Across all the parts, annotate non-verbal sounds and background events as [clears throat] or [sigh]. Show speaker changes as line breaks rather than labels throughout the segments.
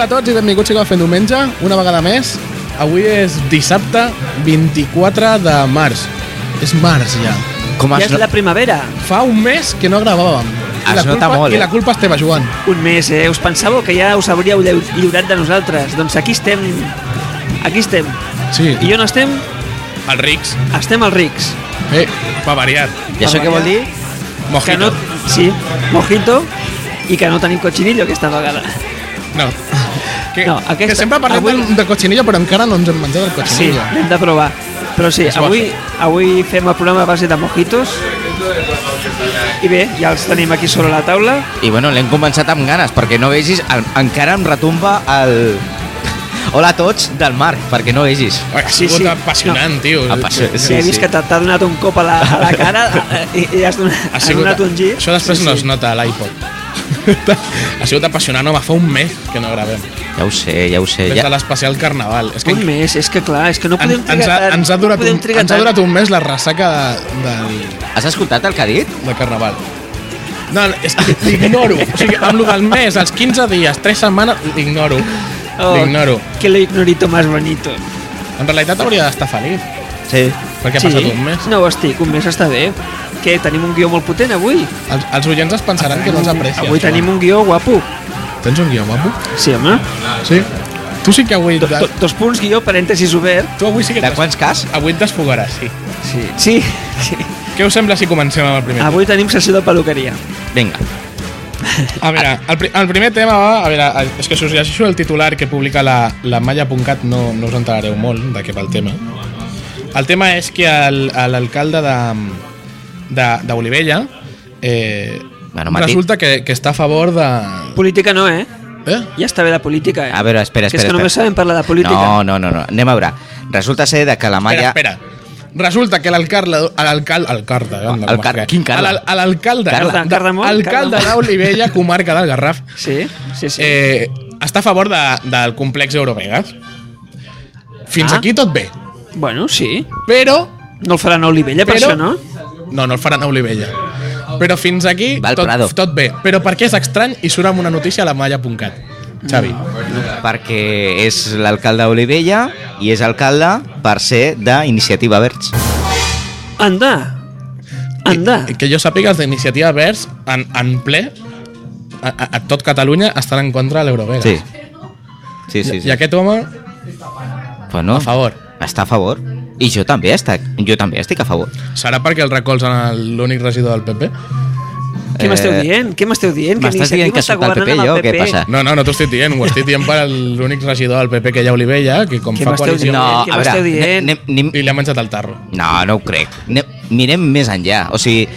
a tots i benvinguts a Cafè en Diumenge, una vegada més. Avui és dissabte 24 de març. És març, ja.
Com
Ja
es,
és la primavera.
Fa un mes que no gravàvem. I
Es
la
nota
culpa,
molt,
I
eh?
la culpa és teva, Joan.
Un mes, eh? Us pensàveu que ja us hauríeu lleu- lliurat de nosaltres. Doncs aquí estem. Aquí estem.
Sí.
I on estem?
Els rics,
Estem als rics.
Eh,
va variar.
I això què vol dir?
Que
Mojito.
no... Sí, mojito. I que no tenim cochinillo aquesta vegada.
no. [laughs] Que,
No,
no,
aquesta-
que sempre parlem
avui-
avui... de cochinillo, però encara no ens hem menjat el
Sí, Ah,
cochinillo.
l'hem de provar. Però sí,
bo.
avui, avui fem el programa a base de mojitos. I bé, ja els tenim aquí sobre la taula.
I bueno, l'hem començat amb ganes, perquè no vegis... El, encara em retumba el... [laughs] Hola a tots del Marc, perquè no vegis.
Ai, ha
Sí,
sigut
sí.
apassionant, tio.
Apassi-
Sí, He vist que t'ha t'ha donat un cop a la, a la cara eh, i, i has donat,
Ha
has
sigut-
donat un gir.
Això després no es nota a
[laughs]
l'iPod. ha sigut apassionant, home, fa un mes que no gravem.
Ja ho sé, ja ho sé.
Des de
Ja...
l'especial Carnaval. És que
Un mes, és que clar, és que no
en-
podem
ens,
trigar
ha,
tant.
ens, ha
no
durat
podem
un,
trigar
ens ha
tant.
durat un mes la ressaca de, del,
Has escoltat el que ha dit?
de Carnaval. No, és que l'ignoro. O sigui, amb lo del mes, els 15 dies, 3 setmanes, l'ignoro.
Oh,
L'ignoro.
Que lo ignorito más bonito.
En realitat hauria d'estar feliç,
Sí.
perquè ha passat un mes.
No ho estic, un mes està bé. Què, tenim un guió molt potent avui?
Els, els oients es pensaran que no els aprecies.
avui
Joan.
eh?
tenim un guió guapo.
Tens un guió guapo?
Sí, home.
Sí. Tu sí que avui...
Do, dos punts guió, parèntesis obert.
Tu avui sí que...
De
t'has-
quants cas?
Avui et desfogaràs, sí.
Sí. Sí, [laughs] sí.
Què us sembla si comencem amb el primer?
Avui tenim sessió de peluqueria.
Vinga.
A veure,
Ah.
el, pri- el primer tema va... A veure, és que si us llegeixo el titular que publica la, la malla.cat no, no us enterareu molt de què va el tema. El tema és que el- a l'alcalde de- de- d'Olivella eh,
Bueno, Martí.
resulta que, que està a favor de...
Política no, eh?
Eh?
Ja està bé la política, eh?
A veure, espera, espera.
Que és que
espera.
només sabem parlar de política.
No, no, no, no. Anem a veure. Resulta ser de que la Malla...
Espera, espera. Resulta que l'alcalde... L'alcalde... Alcalde, anda, com
Alcar-
es que-
quin Carla?
a l'al- a L'alcalde...
Carla.
de-
Carlemont,
Alcalde
Carlemont.
d'Olivella, comarca del Garraf.
Sí, sí, sí.
Eh, està a favor de, del complex Eurovegas. Fins
Ah.
aquí tot bé.
Bueno, sí.
Però...
No el faran a Olivella, per
però
això, no?
No, no el faran a Olivella. Però fins aquí
Va al
tot,
Prado.
tot bé. Però per què és estrany i surt amb una notícia a la malla.cat. Xavi.
Mm. Perquè és l'alcalde d'Olivella i és alcalde per ser d'Iniciativa Verds.
Anda! Anda!
Que, que jo sàpiga els d'Iniciativa Verds en, en ple a, a, a tot Catalunya estan en contra de l'Eurovegas.
Sí. Sí, sí, sí.
I aquest home...
Bueno,
a favor.
Està a favor. I jo també, estic, jo també estic a favor.
Serà perquè el recolzen el- l'únic regidor del PP?
Què m'esteu dient? Què m'esteu dient? Que
Eh, M'estàs dient
Iniciativa
que
està
sóc del PP,
governant
jo, o
amb el
què passa?
No, no, no t'ho estic dient, ho estic dient per l'únic regidor del PP que hi ha a Olivella, que com
Què
fa
m'esteu
coalició...
dient?
No,
Què
a veure,
m'esteu dient?
anem, anem,
I li ha menjat el tarro.
No, no ho crec. Ne- Mirem més enllà. O sigui,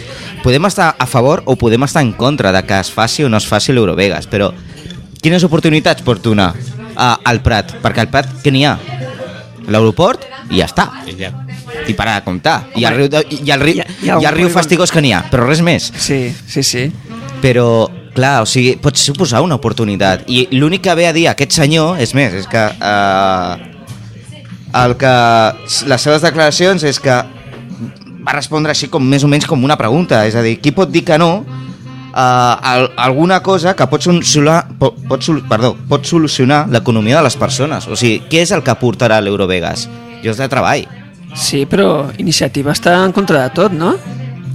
podem estar a favor o podem estar en contra de que es faci o no es faci l'Eurovegas, però quines oportunitats pot donar a, al Prat? Perquè al Prat, què n'hi ha? L'aeroport i ja està.
I ja.
I parar de comptar. I el riu, de, i el riu,
Hi ha- hi
i
ha un
el riu
polígon.
fastigós que n'hi ha, però res més.
Sí, sí, sí.
Però, clar, o sigui, pot suposar una oportunitat. I l'únic que ve a dir aquest senyor, és més, és que... Eh, el que... Les seves declaracions és que va respondre així com més o menys com una pregunta. És a dir, qui pot dir que no a, a alguna cosa que pot solucionar, pot, pot, sol- perdó, pot solucionar l'economia de les persones. O sigui, què és el que portarà l'Eurovegas? Llocs de treball.
Sí, però Iniciativa està en contra de tot, no?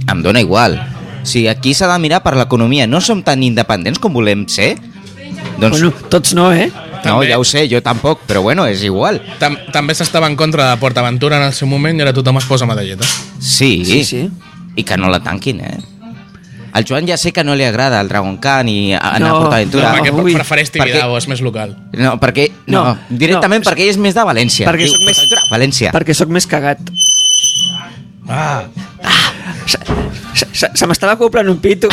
Em dóna igual. O sigui, aquí s'ha de mirar per l'economia. No som tan independents com volem ser? Doncs
Bueno, tots no, eh?
No,
També.
ja ho sé, jo tampoc, però bueno, és igual.
Tam també s'estava en contra de PortAventura en el seu moment i ara tothom es posa medalleta.
Sí,
Sí, sí.
I que no la tanquin, eh? Al Joan ja sé que no li agrada el Dragon Khan i anar
No,
a
No,
PortAventura.
perquè
No,
ui,
prefereix Tibidabo, és més local. [laughs]
perquè... No, perquè... No,
No,
directament
no.
perquè ell és més de València.
Perquè
Diu,
sóc més-
"PortAventura, València.
Perquè sóc més cagat.
Ah,
Se, se, se- se m'estava coplant un pito.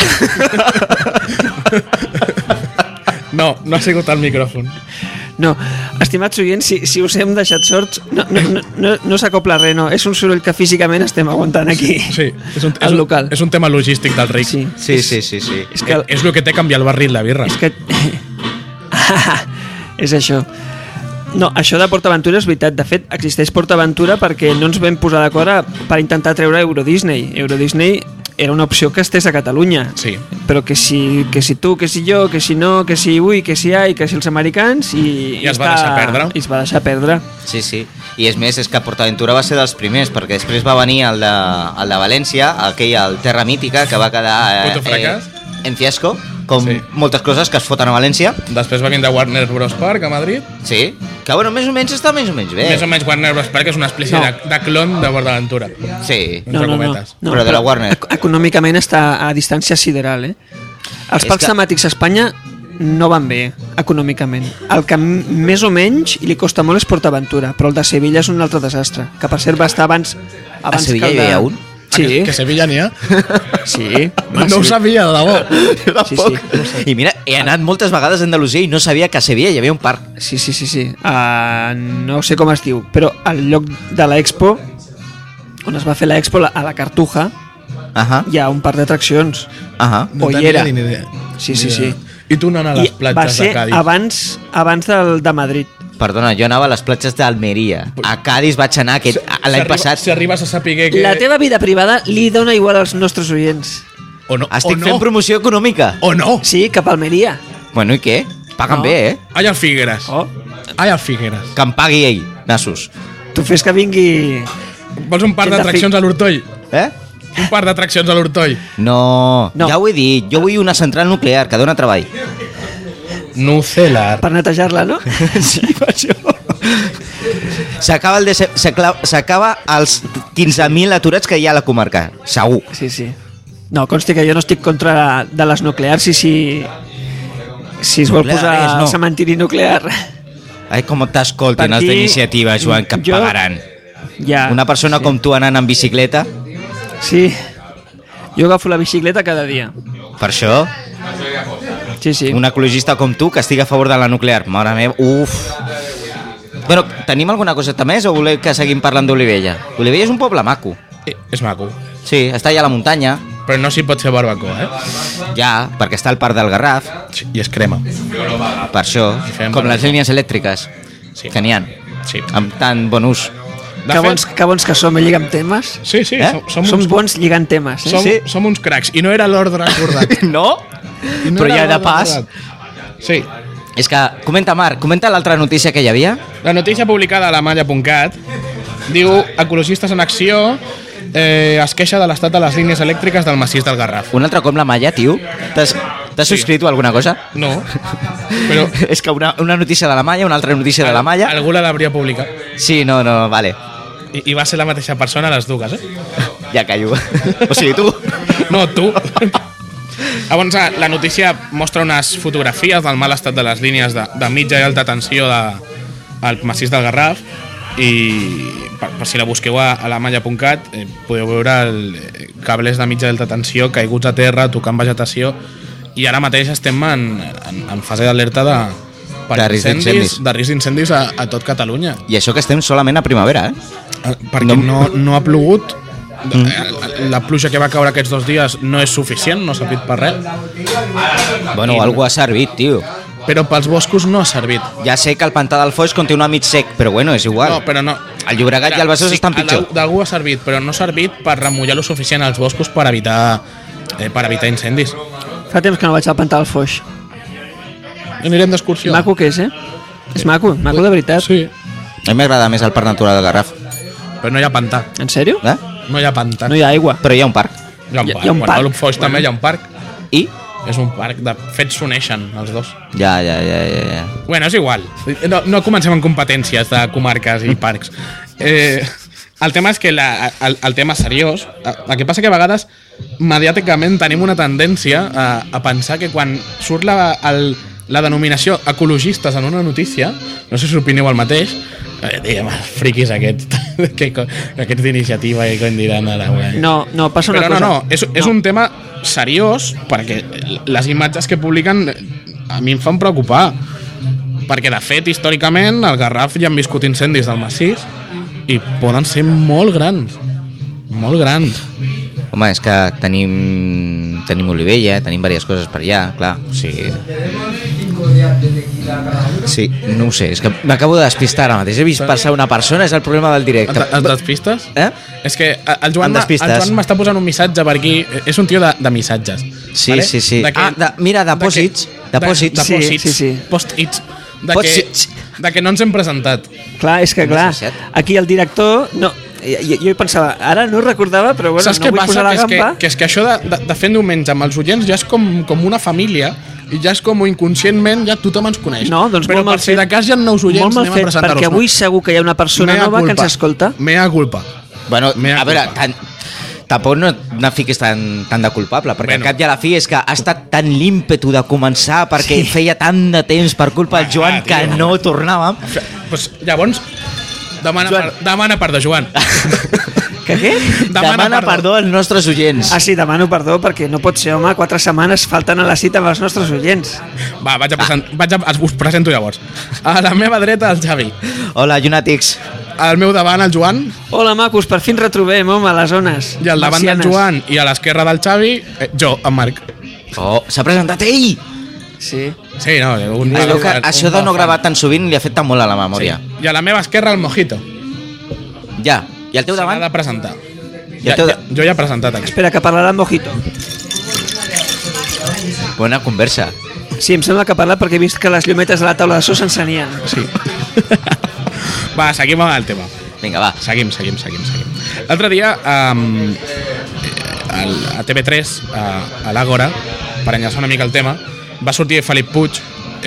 no, no ha sigut el micròfon.
[laughs] No, estimats oients, si, si us hem deixat sorts, no, no, no, no, no s'acopla res, no. És un soroll que físicament estem aguantant aquí.
Sí, és un, és
al
un,
local.
és un tema logístic del ric.
Sí.
Sí, sí, sí, sí.
És
Que...
que,
És el que té canviar el barril, la birra.
És que... [laughs] és això. No, això de PortAventura és veritat. De fet, existeix PortAventura perquè no ens vam posar d'acord a- per intentar treure Euro Disney. Euro Disney era una opció que estés a Catalunya.
Sí.
però que si, que si tu, que si jo, que si no, que si ui, que si ai, que si els americans i,
I es va deixar perdre.
i es va deixar perdre
Sí, sí. I és més, és que PortAventura va ser dels primers, perquè després va venir el de, el de València, aquell, el Terra Mítica, que va quedar... eh,
Puto fracàs.
en fiasco, com
Sí.
sí. moltes coses que es foten a València.
Després va vindre Warner Bros. Park a Madrid.
Sí. Que, bueno, més o menys està més o menys bé.
Eh. Més o menys Warner Bros. Park és una espècie
No.
de, de clon de PortAventura.
Sí.
Entre cometes.
Però de la Warner.
ec- Econòmicament està a distància sideral, eh? Els
És
parcs
que-
temàtics a Espanya no van bé econòmicament. El que m- més o menys li costa molt és PortAventura, però el de Sevilla és un altre desastre, que per cert va estar abans... abans que
Sevilla
el
hi havia un?
Sí,
Ah,
Que, que Sevilla
[laughs]
n'hi ha.
[laughs]
sí.
No ho sabia, de debò.
Sí, sí.
I mira, he anat moltes vegades a Andalusia i no sabia que a Sevilla hi havia un parc.
Sí, sí, sí, sí. Uh, no sé com es diu, però al lloc de l'Expo, on es va fer l'Expo, la- a la Cartuja,
Ahà,
hi ha un parc d'atraccions.
ahà.
O hi
tenia
era.
ni idea.
Sí,
Ni
sí,
idea.
sí.
I tu anant a les
I va
platges
ser
de Cádiz.
abans, abans del de Madrid.
Perdona, jo anava a les platges d'Almeria. A Cádiz vaig anar aquest, a-
Si
l'any
arriba-
passat.
Si arribes a saber que...
La teva vida privada li dona igual als nostres oients.
O no,
Estic
o no,
fent promoció econòmica.
O no.
Sí, cap a Almeria.
Bueno, i què? Paga'm
No.
bé, eh?
Ai, el Figueres.
Oh.
Ai, el Figueres.
Que em pagui ell, nassos.
Tu fes que vingui...
Vols un parc
Gent de
d'atraccions a l'Hortoll?
Eh?
Un parc d'atraccions a l'Hortoll?
No,
No.
no, ja ho he dit. Jo vull una central nuclear que dona treball.
Nucelar.
per netejar-la, no?
Sí, per això. S'acaba el dece- s'acla- s'acaba els 15.000 aturats que hi ha a la comarca, segur.
[laughs] Sí, sí. No, consti que jo no estic contra la- de les nuclears i si... Si es vol
Nuclear
posar
és, no.
el cementiri nuclear... [laughs]
Ai, com t'escolten els
Per aquí,
d'iniciativa, Joan, que et
jo-
pagaran.
Ja,
Una persona
sí.
com tu anant en bicicleta,
Sí. Jo agafo la bicicleta cada dia.
per això,
Sí, sí.
un ecologista com tu que estigui a favor de la nuclear. Mare meva, uf. Bueno, tenim alguna coseta més o voleu que seguim parlant d'Olivella? Olivella és un poble maco.
Eh, És maco.
Sí, està allà a la muntanya,
Però no s'hi pot fer barbacoa, eh?
ja, perquè està al Parc del Garraf,
Sí, I es crema.
per això,
fem
com les
barbacoa.
línies elèctriques,
Sí.
que n'hi ha,
Sí.
amb tant bon ús.
De
Que bons, que bons que som, eh, lligant temes.
Sí, sí,
Eh?
eh? som, som,
Som
uns,
bons lligant temes, eh?
som, sí. som uns cracs. I no era l'ordre
[laughs]
acordat.
[laughs] No?
I no
Però
era
ja de
l'ordre
pas...
acordat. Sí.
És que, comenta Marc, comenta l'altra notícia que hi havia.
La notícia publicada a la malla.cat diu ecologistes en acció eh, es queixa de l'estat de les línies elèctriques del massís del Garraf.
Un altre cop la malla, tio. T'has t'has subscrit o alguna cosa? [laughs]
No, però...
És que una, una notícia de la malla, una altra notícia de la malla...
Algú la devia publicar.
Sí, no, no, vale.
I, I va ser la mateixa persona les dues, eh?
Ja callo. [laughs] O sigui, tu...
No,
[laughs]
tu. Llavors, eh, la notícia mostra unes fotografies del mal estat de les línies de, de mitja i alta tensió de, al massís del Garraf i per, per si la busqueu a, a la malla.cat eh, podeu veure el, eh, cables de mitja i alta tensió caiguts a terra, tocant vegetació i ara mateix estem en, en, en fase d'alerta de, per
De risc d'incendis.
de risc d'incendis a, a tot Catalunya
I això que estem solament a primavera, eh?
Eh, perquè no, no ha plogut mm. la pluja que va caure aquests dos dies no és suficient, no ha servit per res
Bueno, algú ha servit, tio.
però pels boscos no ha servit
Ja sé que el pantà del Foix continua mig sec, però bueno, és igual.
no, però no
El Llobregat i el Besòs estan
a
pitjor.
d'al- d'algú ha servit, però no ha servit per remullar lo suficient als boscos per evitar eh, per evitar incendis
Fa temps que no vaig al pantà del Foix.
anirem d'excursió
Maco que és, eh? És maco, maco de veritat.
sí.
A mi m'agrada més el parc natural del Garraf.
però no hi ha pantà
En sèrio?
Eh?
no hi ha pantà
No hi ha aigua.
Però hi ha un parc.
hi ha un
hi ha
parc,
un
Bueno,
parc.
a l'Upfoix també hi ha un parc
I?
és un parc, de fet s'uneixen els dos
Ja, ja, ja, ja. ja.
Bueno, és igual. No, no comencem amb competències de comarques i parcs. Eh, el tema és que la, el, el tema és seriós. eh, El que passa que a vegades mediàticament tenim una tendència a, a pensar que quan surt la, el, la denominació ecologistes en una notícia, no sé si opineu el mateix, eh, diem, "Els friquis [laughs] aquests, que, co- aquests d'iniciativa i com diran ara. Bueno.
No, no, passa una
Però no,
cosa.
no, és, és un tema seriós perquè les imatges que publiquen a mi em fan preocupar perquè de fet històricament al Garraf ja han viscut incendis del massís i poden ser molt grans molt grans
Home, és que tenim, tenim Olivella, tenim diverses coses per allà, clar. O sigui, Sí, no ho sé, és que m'acabo de despistar ara mateix. He vist passar una persona, és el problema del
Et,
directe.
et despistes?
Eh?
És que el Joan
Em
m'ha-
despistes.
el Joan m'està posant un missatge per aquí. És un tio de, de missatges.
Sí, sí, sí.
De que-
Ah, de- mira,
de que-
depòsits.
de-
Depòsits.
Sí,
Depòsits.
sí, sí.
Post-its. De
Post-its.
que, de que no ens hem presentat.
Clar, és que clar,
associat.
aquí el director... No, jo, jo hi pensava, ara no recordava, però bueno,
Saps
no
què
vull
passa?
posar la
Que és, que,
gamba.
que és que això de, de, de fer diumenge amb els oients ja és com, com una família i ja és com inconscientment ja tothom ens coneix.
No, doncs
Però
molt mal
per si
fet.
de cas hi ha nous oients,
Molt mal
anem
fet,
a presentar-los.
perquè avui segur que hi ha una persona
Mea
nova que
culpa.
ens escolta.
Mea culpa.
Bueno,
Mea
a veure,
culpa.
tan, tampoc no, no et fiquis tan, tan de culpable, perquè
Bueno.
bueno. al cap i a la fi és que ha estat tan l'ímpetu de començar perquè sí. feia tant de temps per culpa del Joan
Ah,
que
tio.
no tornàvem.
Pues, llavors, demana,
Joan.
per, demana per de
[laughs]
Joan.
Que què?
Demana, Demana perdó. perdó als nostres oients.
Ah, sí, demano perdó perquè no pot ser, home, quatre setmanes falten a la cita amb els nostres oients.
Va, vaig a present, vaig a, us presento llavors. A la meva dreta, el Xavi.
Hola, Llunàtics.
Al meu davant, el Joan.
Hola, macos, per fi ens retrobem, home, a les zones
I al davant del Joan i a l'esquerra del Xavi, eh, jo, en Marc.
Oh, s'ha presentat ell!
Sí.
Sí, no, un,
Es veu que
un-
això
un
de no
fan.
gravar tan sovint li ha fet tan molt a la
Sí.
memòria.
I a la meva esquerra, el Mojito.
Sí. Ja. I al teu
S'ha
davant?
de presentar.
I
Ja,
el teu...
ja, jo ja he presentat aquí.
Espera, que parlarà en Mojito.
Bona conversa.
Sí, em sembla que parla perquè he vist que les llumetes de la taula de so s'encenien.
Sí. [laughs] Va, seguim amb el tema.
Vinga, va.
Seguim, seguim, seguim, seguim. L'altre dia, um, a TV3, eh, a, a l'Àgora, per enllaçar una mica el tema, va sortir Felip Puig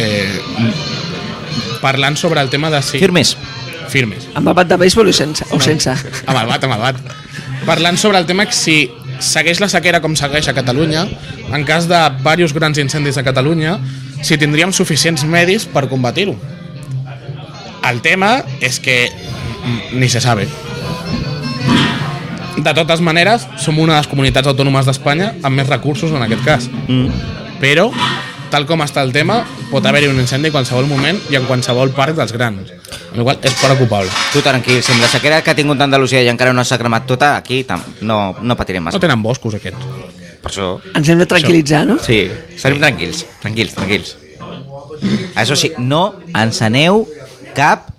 eh, parlant sobre el tema de si...
Firmes.
Firmes.
Amb el bat de béisbol o sense? O sense.
Amb el bat, amb el bat. Parlant sobre el tema que si segueix la sequera com segueix a Catalunya, en cas de diversos grans incendis a Catalunya, si tindríem suficients medis per combatir-ho. El tema és que mm, ni se sabe. De totes maneres, som una de les comunitats autònomes d'Espanya amb més recursos en aquest cas.
Mm.
Però, tal com està el tema, pot haver-hi un incendi en qualsevol moment i en qualsevol parc dels grans. Amb la qual cosa és preocupable.
Tu tranquil, si amb la sequera que ha tingut Andalusia i encara no s'ha cremat tota, aquí tam... no, no patirem
No
massa.
tenen boscos aquests.
Per això...
Ens hem de tranquil·litzar, no?
Sí, estarem tranquils, tranquils, tranquils. Això sí, no enceneu cap...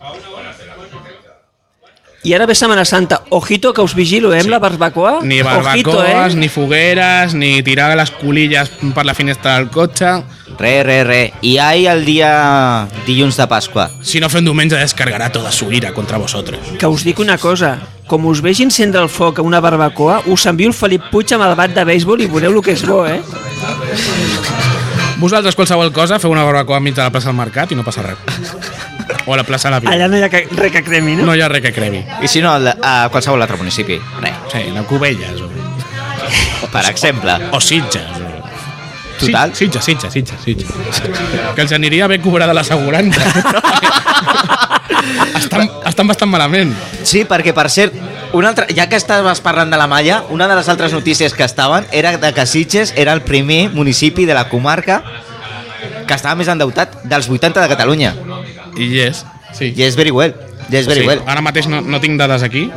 I ara ve Setmana Santa. Ojito, que us vigilo, eh, amb la barbacoa.
Ni
Ojito,
barbacoas,
eh?
ni fogueres, ni tirar les colilles per la finestra del cotxe.
Re, re, re. I ahir el dia dilluns de Pasqua.
Si no fem diumenge descargarà toda su ira contra vosotros.
Que us dic una cosa. Com us vegi encendre el foc a una barbacoa, us envio el Felip Puig amb el bat de béisbol i veureu el que és bo, eh?
Vosaltres qualsevol cosa, feu una barbacoa enmig de la plaça del mercat i no passa res. O a la plaça de la Vila.
Allà no hi ha que- res que cremi, no?
No hi ha res que crevi.
I si no, al- a qualsevol altre municipi. Re.
Sí, no Cubelles o,
Per exemple.
o Sitges. O...
Total.
Sí, Sitges, Sitges, Sitges, Sitges. Que els aniria bé cobrar de
[laughs]
l'assegurança. estan, estan bastant malament.
Sí, perquè per cert, una altra, ja que estaves parlant de la malla, una de les altres notícies que estaven era de que Sitges era el primer municipi de la comarca que estava més endeutat dels 80 de Catalunya.
I yes. Sí.
Yes, very well. Yes, very
sí,
well.
Ara mateix no, no tinc dades aquí,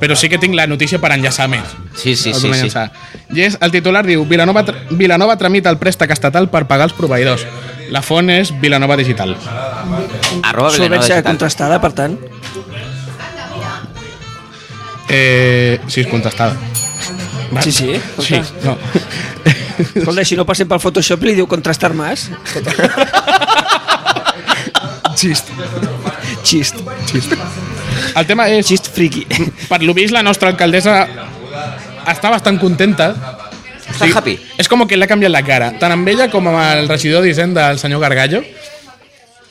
però sí que tinc la notícia per enllaçar més.
Sí, sí,
El
sí,
d'una
sí.
llançada. I és, el titular diu Vilanova, tr- Vilanova tramita el préstec estatal per pagar els proveïdors. La font és Vilanova Digital.
Arroba Vilanova
Solvència
Digital.
contrastada, per tant.
Eh, sí, és contestada. Va.
Sí, sí,
Sí,
escolta.
no.
Escolta, si no passem pel Photoshop i li diu contrastar més.
Xist.
Xist.
El tema és,
Xist friqui.
per lo vist, la nostra alcaldessa està bastant contenta.
Està
Sí.
happy.
És com que l'ha canviat la cara, tant amb ella com amb el regidor d'Hisenda, el senyor Gargallo.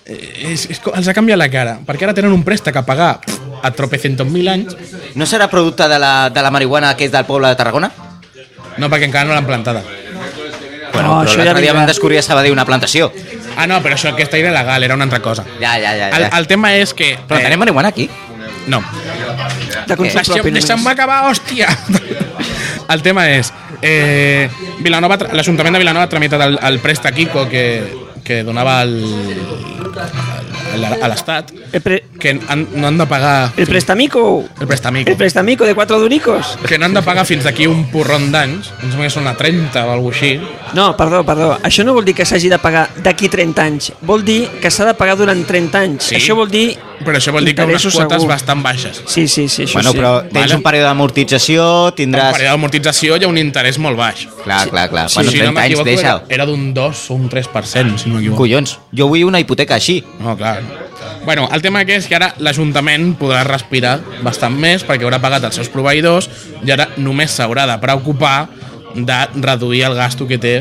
Eh, És, és, co- els ha canviat la cara, perquè ara tenen un préstec a pagar pff, a tropecientos mil anys,
No serà producte de la, de la marihuana que és del poble de Tarragona?
no perquè encara no l'han plantada.
Bueno, però
això ja
l'altre dia
vindrà.
vam descobrir a Sabadell una plantació.
Ah, no, però això aquesta era il·legal, era una altra cosa.
Ja, ja, ja.
El,
ja.
el tema és que... eh,
Però tenim marihuana aquí?
No.
De consum
Deixeu-
propi
Deixa'm
només.
acabar, hòstia! [laughs] El tema és... Eh, Vilanova tra- L'Ajuntament de Vilanova ha tramitat el, el préstec ICO que, que donava el, el, a l'Estat
He, pre
que han, no han de pagar...
El prestamico.
El prestamico.
El prestamico de cuatro duricos.
que no han de pagar fins d'aquí un porron d'anys, em sembla que són a 30 o alguna així.
No, perdó, perdó. Això no vol dir que s'hagi de pagar d'aquí 30 anys. Vol dir que s'ha de pagar durant 30 anys.
Sí.
Això vol dir...
Però això vol dir que unes
interessos
quotes
segur.
bastant baixes.
Sí, sí, sí, això
Bueno,
sí.
però tens
Vale.
un període d'amortització,
En
tindràs...
període d'amortització hi ha un interès molt baix.
Clar, clar, clar.
Sí,
Bueno,
si
30 anys,
m'equivoco,
deixa
era, era d'un 2 o un 3%, si no m'equivoco.
Collons, jo vull una hipoteca així.
No, clar. Bueno, el tema que és que ara l'Ajuntament podrà respirar bastant més perquè haurà pagat els seus proveïdors i ara només s'haurà de preocupar de reduir el gasto que té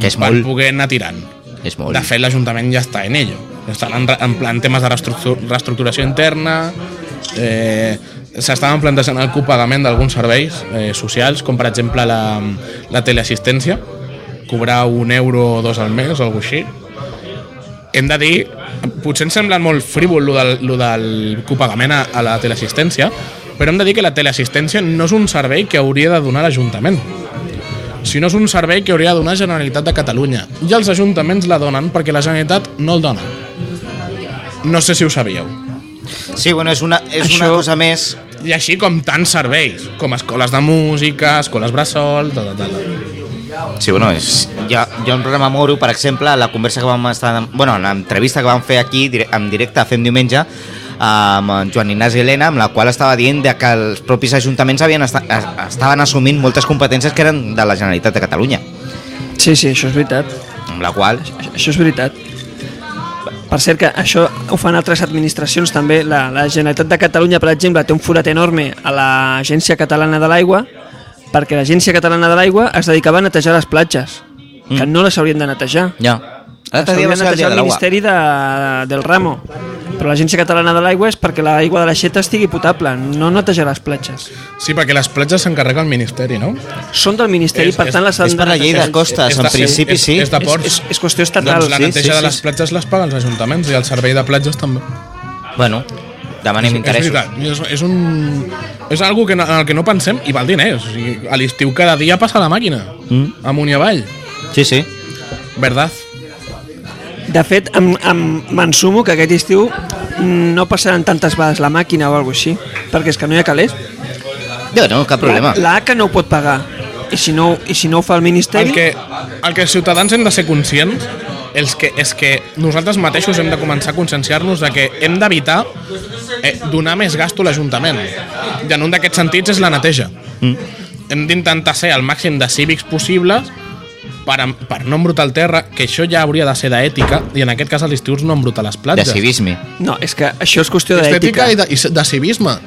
Que és
per
molt.
poder anar tirant.
És molt.
De fet, l'Ajuntament ja està en ello. Estan en, en plan temes de reestructu- reestructuració interna, eh, s'estaven plantejant el copagament d'alguns serveis eh, socials, com per exemple la, la teleassistència, cobrar un euro o dos al mes o alguna així. Hem de dir, potser ens sembla molt frívol lo del, lo del copagament a, a la teleassistència, però hem de dir que la teleassistència no és un servei que hauria de donar l'Ajuntament si no és un servei que hauria de donar Generalitat de Catalunya. I els ajuntaments la donen perquè la Generalitat no el dona. No sé si ho sabíeu.
Sí, bueno, és una, és
Això-
una cosa més...
I així com tants serveis, com escoles de música, escoles bressol, tal, tal, tal.
Sí, bueno, és... Jo, jo em rememoro, per exemple, la conversa que vam estar... Bueno, l'entrevista que vam fer aquí, dire- en directe, fem diumenge, amb en Joan Ignasi Helena, amb la qual estava dient de que els propis ajuntaments havien esta, es- estaven assumint moltes competències que eren de la Generalitat de Catalunya,
Sí, sí, això és veritat.
amb la qual...
Això, això és veritat. Per cert que això ho fan altres administracions també. La, la Generalitat de Catalunya, per exemple, té un forat enorme a l'Agència Catalana de l'Aigua perquè l'Agència Catalana de l'Aigua es dedicava a netejar les platges, que
Mm.
no les haurien de netejar.
Ja.
Les
L'altre dia
haurien
va
de
ser el dia de
netejar el
l'aigua.
Ministeri de, del Ramo. Però l'Agència Catalana de l'Aigua és perquè l'aigua de la xeta estigui potable, no netejar les platges.
Sí, perquè les platges s'encarrega el Ministeri, no?
Són del Ministeri,
És-
per
és-
tant les han
És per la llei de
netejar.
costes,
És
en
de-
principi
és-
sí.
és de ports.
És, és, és qüestió estatal.
Doncs la
sí,
neteja
sí,
de les
sí.
platges les paga els ajuntaments i el servei de platges també.
Bueno, demanem
És
interessos.
veritat, és, és un... És algo que no, en el que no pensem i val diners. O sigui, a l'estiu cada dia passa la màquina,
Mm.
amunt i avall.
Sí, sí.
Verdad?
De fet, em- em- m'ensumo que aquest estiu no passaran tantes vegades la màquina o alguna així, perquè és que no hi ha calés.
Jo no, cap problema.
La ACA no ho pot pagar. I si no, i si no ho fa el Ministeri...
El que, el que els ciutadans hem de ser conscients els que, és que nosaltres mateixos hem de començar a conscienciar-nos de que hem d'evitar eh, donar més gasto a l'Ajuntament. I en un d'aquests sentits és la neteja. Mm. Hem d'intentar ser el màxim de cívics possibles per, em- per no embrutar el terra, que això ja hauria de ser d'ètica, i en aquest cas a l'estiu no embrutar les
De
platges.
civisme.
No, és que això és qüestió
Estètica
d'ètica.
i de, i de civisme.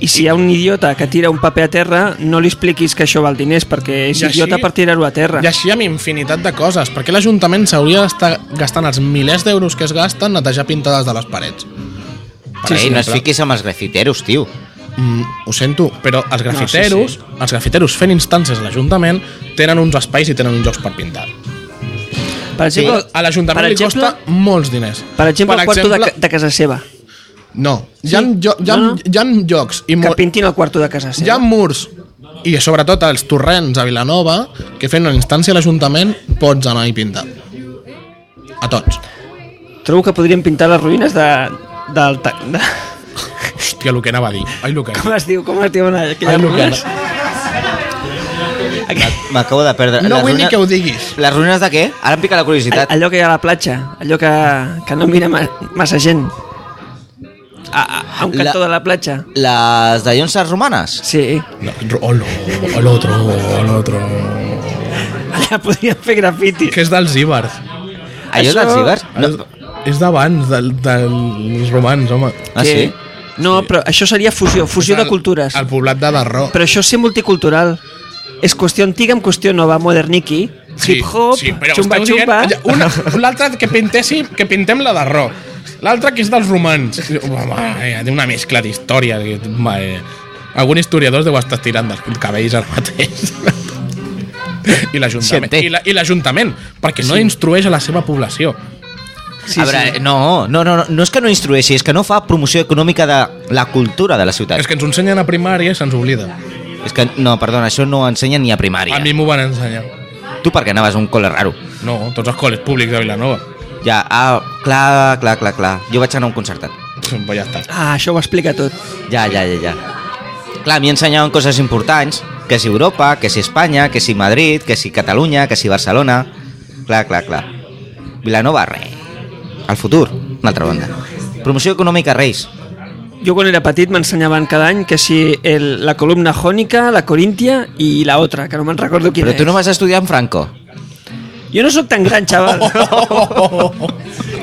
I si hi ha un idiota que tira un paper a terra, no li expliquis que això val diners, perquè és
I així-
idiota per tirar-ho a terra.
I així amb infinitat de coses. Perquè l'Ajuntament s'hauria d'estar gastant els milers d'euros que es gasten netejar pintades de les parets. Per
Sí, Ei, no es
exemple.
fiquis amb els grafiteros, tio.
Mm, ho sento, però els grafiteros, no, sí, sí. els grafiteros fent instàncies a l'Ajuntament tenen uns espais i tenen uns jocs per pintar.
Per exemple,
A l'Ajuntament
per
li
exemple,
costa molts diners.
Per exemple, el quarto de, ca- de casa seva.
No, hi ha,
Sí?
jo, hi ha,
No, no.
hi ha jocs i
Que
mo-
pintin el quarto de casa
hi ha
seva.
murs i sobretot els torrents a Vilanova que fent una instància a l'Ajuntament pots anar i pintar. A tots.
Trobo que podríem pintar les ruïnes de, del... ta- De,
Hòstia, el que anava a dir. Ai, el que...
com es diu? Com es diuen
Ai,
aquelles
Luca,
ruïnes?
M'acabo de perdre.
No
Les
vull ni
ruïnes-
que ho diguis.
Les ruïnes de què? Ara em pica la
All-
curiositat.
Allò que hi ha a la platja, allò que, que no mira ma- massa gent. A, a, a un cantó
La-
de la platja.
Les de Llonses Romanes?
Sí,
No, o lo, o l'otro, o l'otro...
allà podríem fer grafitis.
Que és dels Ibars.
Allò
Això-
dels Ibers?
No.
No.
És d'abans, del, dels romans, home.
Ah, sí?
No, però això seria fusió, fusió de
El-
cultures.
El poblat de Darró.
Però això és ser multicultural. És qüestió antiga amb qüestió nova, moderniki, hip-hop, xumba-xumba...
dient, una,
[laughs]
l'altra que pintéssim, que pintem la Darró. L'altra que és dels romans. Home, eh, té una mescla d'històries. que, home, eh, Algun historiador es deu estar tirant dels cabells al mateix. I l'Ajuntament.
Siente.
I la- I l'Ajuntament, perquè no instrueix a la seva població.
Sí, a veure, no, no, no, no, no és que no instrueixi, és que no fa promoció econòmica de la cultura de la ciutat.
És que ens ho ensenyen a primària i se'ns oblida.
És que, no, perdona, això no ho ensenya ni a primària.
A mi m'ho van ensenyar.
Tu perquè anaves a un col·le raro.
No, tots els col·les públics de Vilanova.
Ja, ah, clar, clar, clar, clar. Jo vaig anar a un concertat.
Pues ja està.
Ah, això ho explica tot.
Ja, ja, ja, ja. Clar, a mi ensenyaven coses importants, que si Europa, que si Espanya, que si Madrid, que si Catalunya, que si Barcelona... Clar, clar, clar. Vilanova, re. El futur, una altra banda. Promoció econòmica, Reis.
Jo quan era petit m'ensenyaven cada any que si el, la columna jònica, la coríntia i la otra, que no me'n recordo quina
Però tu no vas estudiar en Franco.
és. Jo no sóc tan gran,
[laughs]
xaval.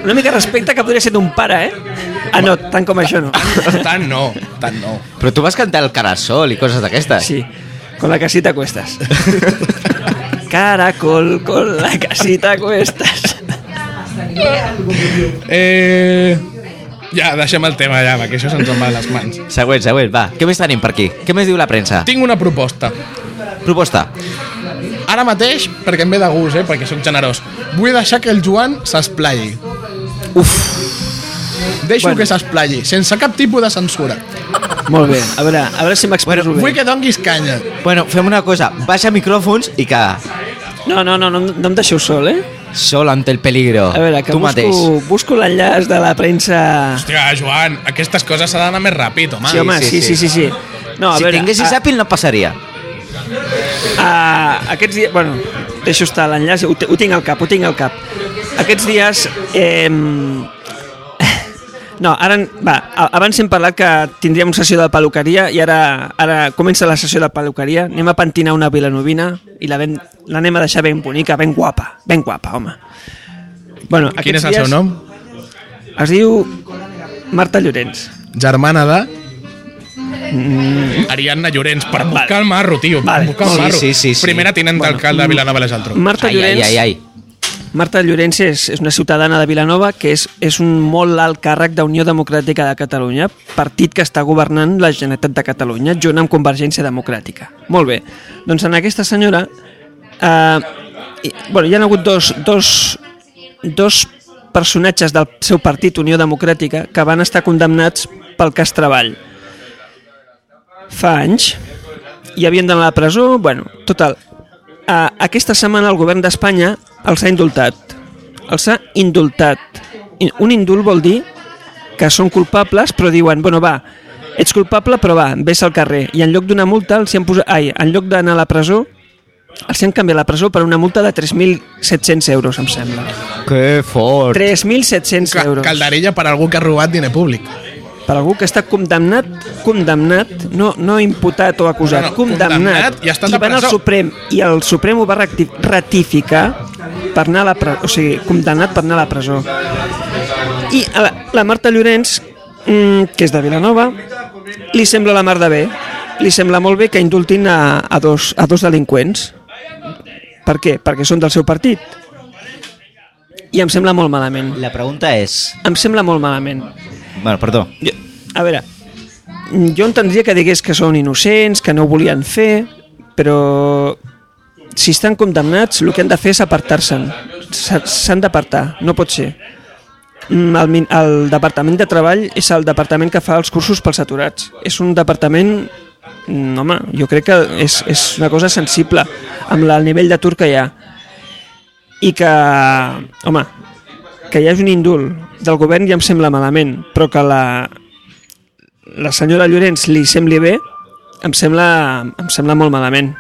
Una mica de respecte que podria ser d'un pare, eh? Ah, no, tant com això no.
Tant no, tant no.
Però tu vas cantar el Carasol i coses d'aquestes.
Sí, con la casita
[laughs]
cuestas. Caracol, con la casita cuestas.
Eh... Ja, deixem el tema ja, va, que això se'ns en va a les mans.
Següent, següent, va. Què més tenim per aquí? Què més diu la premsa?
Tinc una proposta.
Proposta.
Ara mateix, perquè em ve de gust, eh, perquè sóc generós, vull deixar que el Joan s'esplayi.
Uf,
Deixo
Bueno.
que s'esplayi, sense cap tipus de censura.
molt bé. A veure, a veure si m'expreso
Vull
bé.
que donguis canya.
Bueno, fem una cosa. Baixa micròfons i que...
No, no, no, no, em- no em deixeu sol, eh?
Sol ante el peligro.
A veure, que
tu mateix.
busco, busco l'enllaç de la premsa...
Hòstia, Joan, aquestes coses s'ha d'anar més ràpid, home.
Sí, home, sí, sí, sí, sí. No, a
si
veure,
tinguessis
a,
Apple no passaria.
a, Ah, aquests dies... Bueno, deixo estar l'enllaç, ho, te- ho tinc al cap, ho tinc al cap. Aquests dies... Eh, [laughs] no, ara... en- Va, a- abans hem parlat que tindríem una sessió de peluqueria i ara, ara comença la sessió de peluqueria. Anem a pentinar una vilanovina i la ben- l'anem a deixar ben bonica, ben guapa. Ben guapa, home. Bueno,
Quin és
aquests
el seu
dies
nom?
Es diu Marta Llorenç.
Germana de... Ariadna Llorenç, per buscar el marro, tio, per
Mm. Vale.
buscar el
Sí,
marro.
sí, sí, sí.
Primera tinent d'alcalde de Vilanova i la Geltrú.
Marta
Ai, ai,
Llorenç...
ai, ai.
Marta Llorenç és, és una ciutadana de Vilanova que és, és un molt alt càrrec d'Unió Democràtica de Catalunya, partit que està governant la Generalitat de Catalunya, junt amb Convergència Democràtica. Molt bé. Doncs en aquesta senyora... Eh, i, bueno, hi ha hagut dos, dos, dos personatges del seu partit, Unió Democràtica, que van estar condemnats pel cas Treball. Fa anys, i havien d'anar a la presó, bueno, total. Uh, aquesta setmana el govern d'Espanya els ha indultat. Els ha indultat. I Un indult vol dir que són culpables, però diuen, bueno, va, ets culpable, però va, vés al carrer. I en lloc d'una multa, els hi han posat, ai, en lloc d'anar a la presó, els hi han canviat la presó per una multa de 3.700 euros, em sembla.
Que fort.
3.700
Ca-
euros.
Calderella per algú que ha robat diner públic.
Per algú que està condemnat, condemnat, no, no imputat o acusat,
No, no,
condemnat,
condemnat i ha estat a
van al
presó.
Suprem, i el Suprem ho va recti- ratificar per anar a la presó, o sigui, condemnat per anar a la presó. I a la, la Marta Llorenç, mm, que és de Vilanova, li sembla la mar de bé, li sembla molt bé que indultin a, a, dos, a dos delinqüents. Per què? Perquè són del seu partit. I em sembla molt malament.
La pregunta és...
Em sembla molt malament.
Bueno, perdó.
Jo, a veure, jo entendria que digués que són innocents, que no ho volien fer, però si estan condemnats, el que han de fer és apartar-se'n. S'ha- S'han d'apartar, no pot ser. Mm, El, min- el Departament de Treball és el departament que fa els cursos pels aturats. És un departament... mm, Home, jo crec que és, és una cosa sensible amb la- el nivell d'atur que hi ha. I que, home, que hi hagi un indult del govern ja em sembla malament, però que la, la senyora Llorenç li sembli bé, em sembla, em sembla molt malament.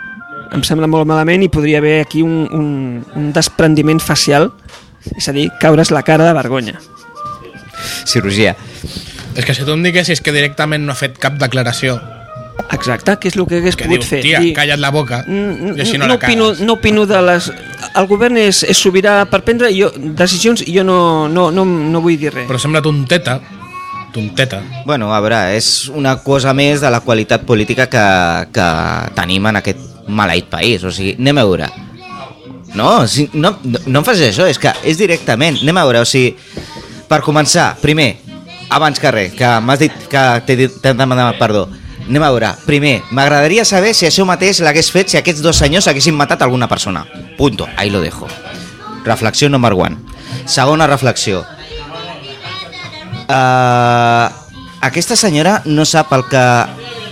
Em sembla molt malament i podria haver aquí un, un, un desprendiment facial, és a dir, caure's la cara de vergonya.
Cirurgia.
És que si tu em diguessis que directament no ha fet cap declaració,
Exacte, que és el que hagués
que
pogut
dius,
fer.
tia,
dir,
calla't la boca,
"Mm,
i així no, la
no, opino,
cagues.
no opino de les... El govern és, és sobirà per prendre jo, decisions i jo no, no, no, no vull dir res.
Però sembla tonteta, tonteta.
Bueno, a veure, és una cosa més de la qualitat política que, que tenim en aquest maleït país. O sigui, anem a veure. No, si, no, no, no em facis això, és que és directament. Anem a veure, o sigui, per començar, primer, abans que res, que m'has dit que t'he dit- t'he demanat perdó. Anem a veure, primer, m'agradaria saber si això mateix l'hagués fet si aquests dos senyors haguessin matat alguna persona. Punto, ahí lo dejo. Reflexió number one. Segona reflexió. Uh, aquesta senyora no sap el que,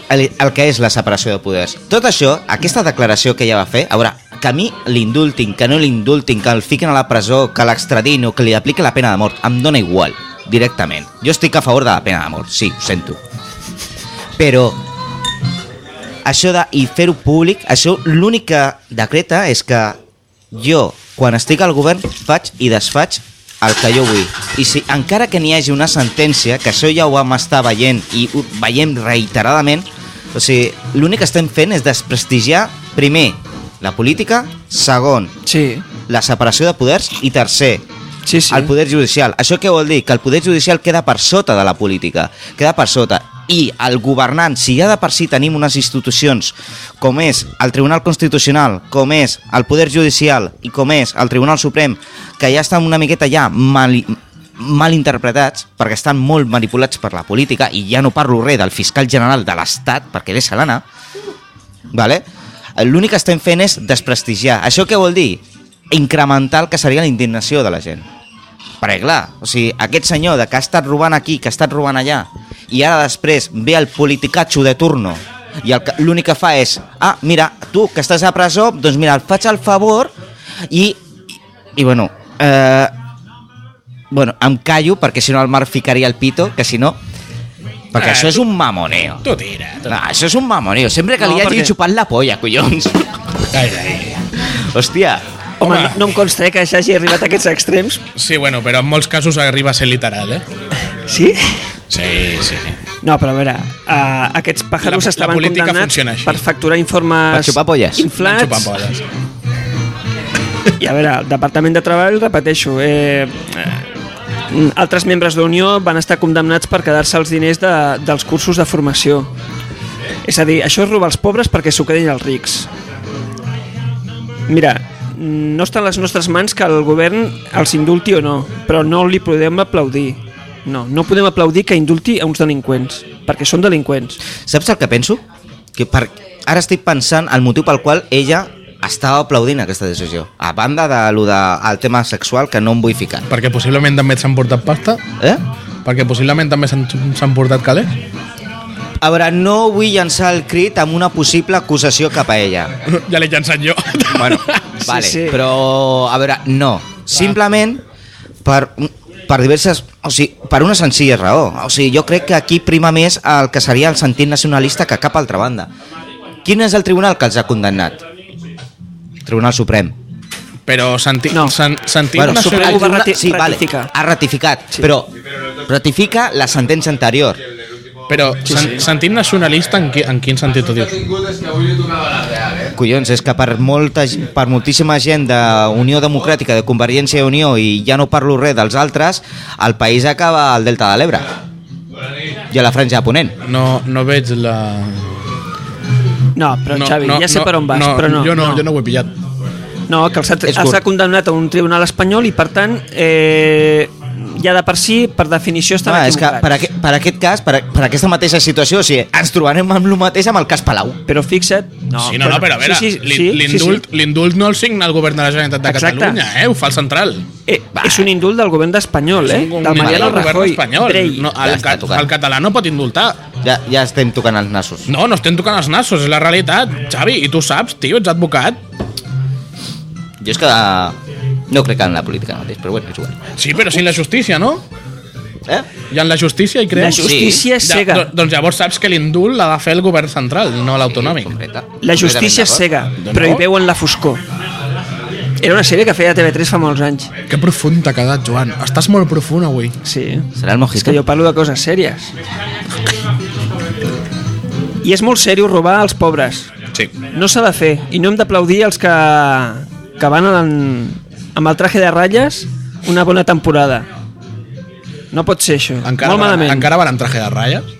el, el que és la separació de poders. Tot això, aquesta declaració que ella va fer, a veure, que a mi l'indultin, que no l'indultin, que el fiquen a la presó, que l'extradin o que li apliquen la pena de mort, em dóna igual. directament. Jo estic a favor de la pena de mort, sí, ho sento. Però això de, i fer-ho públic, això l'únic que decreta és que jo, quan estic al govern, faig i desfaig el que jo vull. I si encara que n'hi hagi una sentència, que això ja ho vam estar veient i ho veiem reiteradament, o sigui, l'únic que estem fent és desprestigiar, primer, la política, segon,
Sí,
la separació de poders i tercer,
sí, sí.
el poder judicial. Això què vol dir? Que el poder judicial queda per sota de la política, queda per sota. I el governant, si ja de per si tenim unes institucions com és el Tribunal Constitucional, com és el Poder Judicial i com és el Tribunal Suprem, que ja estan una miqueta ja mal, mal interpretats perquè estan molt manipulats per la política i ja no parlo res del fiscal general de l'Estat perquè deixa l'anar, vale? l'únic que estem fent és desprestigiar. Això què vol dir? Incrementar el que seria la indignació de la gent. Perquè clar, o sigui, aquest senyor de que ha estat robant aquí, que ha estat robant allà, i ara després ve el politicatxo de turno, i el que- l'únic que fa és, ah, mira, tu que estàs a presó, doncs mira, et faig el favor i, i bueno, eh, bueno, em callo perquè si no el Marc ficaria el pito, que si no... Perquè
Ah,
això és un mamoneo.
Tu tira. Tu...
No, això és un mamoneo. Sempre que
No,
li hagi
perquè-
xupat la polla, collons. [laughs]
Ai, ai.
Hòstia.
Home,
Home.
no, no em consta eh, que s'hagi arribat a aquests extrems.
Sí, bueno, però en molts casos arriba a ser literal, eh?
Sí?
Sí, sí.
No, però a veure, uh, aquests pàjaros
La- la
estaven
política
condemnats
funciona així.
per facturar
Per
informes
xupar polles.
Van
inflats.
xupant boles.
I a veure, el Departament de Treball, repeteixo, eh, eh, altres membres d'Unió van estar condemnats per quedar-se els diners de, dels cursos de formació. És a dir, això és robar els pobres perquè s'ho quedin els rics. Mira, no està a les nostres mans que el govern els indulti o no, però no li podem aplaudir. No, no podem aplaudir que indulti a uns delinqüents, perquè són delinqüents.
Saps el que penso? Que per... Ara estic pensant el motiu pel qual ella estava aplaudint aquesta decisió. A banda de lo de, el tema sexual, que no em vull ficar.
Perquè possiblement també s'han portat pasta,
Eh?
perquè possiblement també s'han s'han portat calés.
A veure, no vull llançar el crit amb una possible acusació cap a ella.
[laughs] Ja l'he llançat jo.
Bueno,
[laughs] Sí,
vale,
sí.
però a veure, no. Simplement per, per diverses... O sigui, per una senzilla raó. O sigui, jo crec que aquí prima més el que seria el sentit nacionalista que cap altra banda. Quin és el tribunal que els ha condemnat? Tribunal Suprem.
Però senti,
No.
no. sen, sentim
Bueno,
bueno,
Suprem
el
ho va
tribunal-
rati-
sí, vale,
ratificar.
ha ratificat,
Sí.
però ratifica la sentència anterior.
però sen, sentit nacionalista en, qui, en quin sentit ho dius?
Collons, és que per, molta, g- per moltíssima gent d'Unió Democràtica, de Convergència i Unió, i ja no parlo res dels altres, el país acaba al Delta de l'Ebre i a la franja de Ponent.
No, no veig la...
No, però
no,
Xavi, ja sé per on vas,
no,
però no.
Jo no, no. jo no ho he pillat.
No, que els ha,
És
els ha
curt.
condemnat a un tribunal espanyol i, per tant, eh, ja de per si, per definició, estan
No, Ah, és que
equivocats.
per, aqu per aquest cas, per, a per aquesta mateixa situació, o sigui, ens trobarem amb el mateix amb el cas Palau.
Però fixa't... No,
sí, no, no, però a veure,
sí, sí,
l'in-
sí,
l'indult l'indult no el signa el govern de la Generalitat de
Exacte.
Catalunya, eh? ho fa el central.
Sí, sí. Eh, és un indult del govern d'Espanyol, eh?
Un-
Del Mariano
del govern
Rajoy.
espanyol.
Drey.
No, el,
Ja està
ca-
tocant.
el català no pot indultar.
Ja, ja estem tocant els nassos.
No, no estem tocant els nassos, és la realitat. Xavi, i tu saps, tio, ets advocat.
Jo és que eh, no crec en la política mateix, però bueno, és igual.
Sí, però sin la justícia, no?
Eh?
I en la justícia hi creus?
La justícia és
Ja,
cega.
do- doncs llavors saps que l'indult l'ha de fer el govern central, no l'autonòmic.
Concreta.
La justícia és
Completament
cega,
d'acord.
però hi
No.
veuen la foscor. Era una sèrie que feia TV3 fa molts anys.
Que profund t'ha quedat, Joan. Estàs molt profund avui.
Sí.
Serà el
És que
mojito?
jo parlo de coses sèries. I és molt seriós robar als pobres.
Sí.
No s'ha de fer i no hem d'aplaudir els que, que van en, amb el traje de ratlles una bona temporada. No pot ser això.
Encara,
Molt malament.
encara van en traje de ratlles?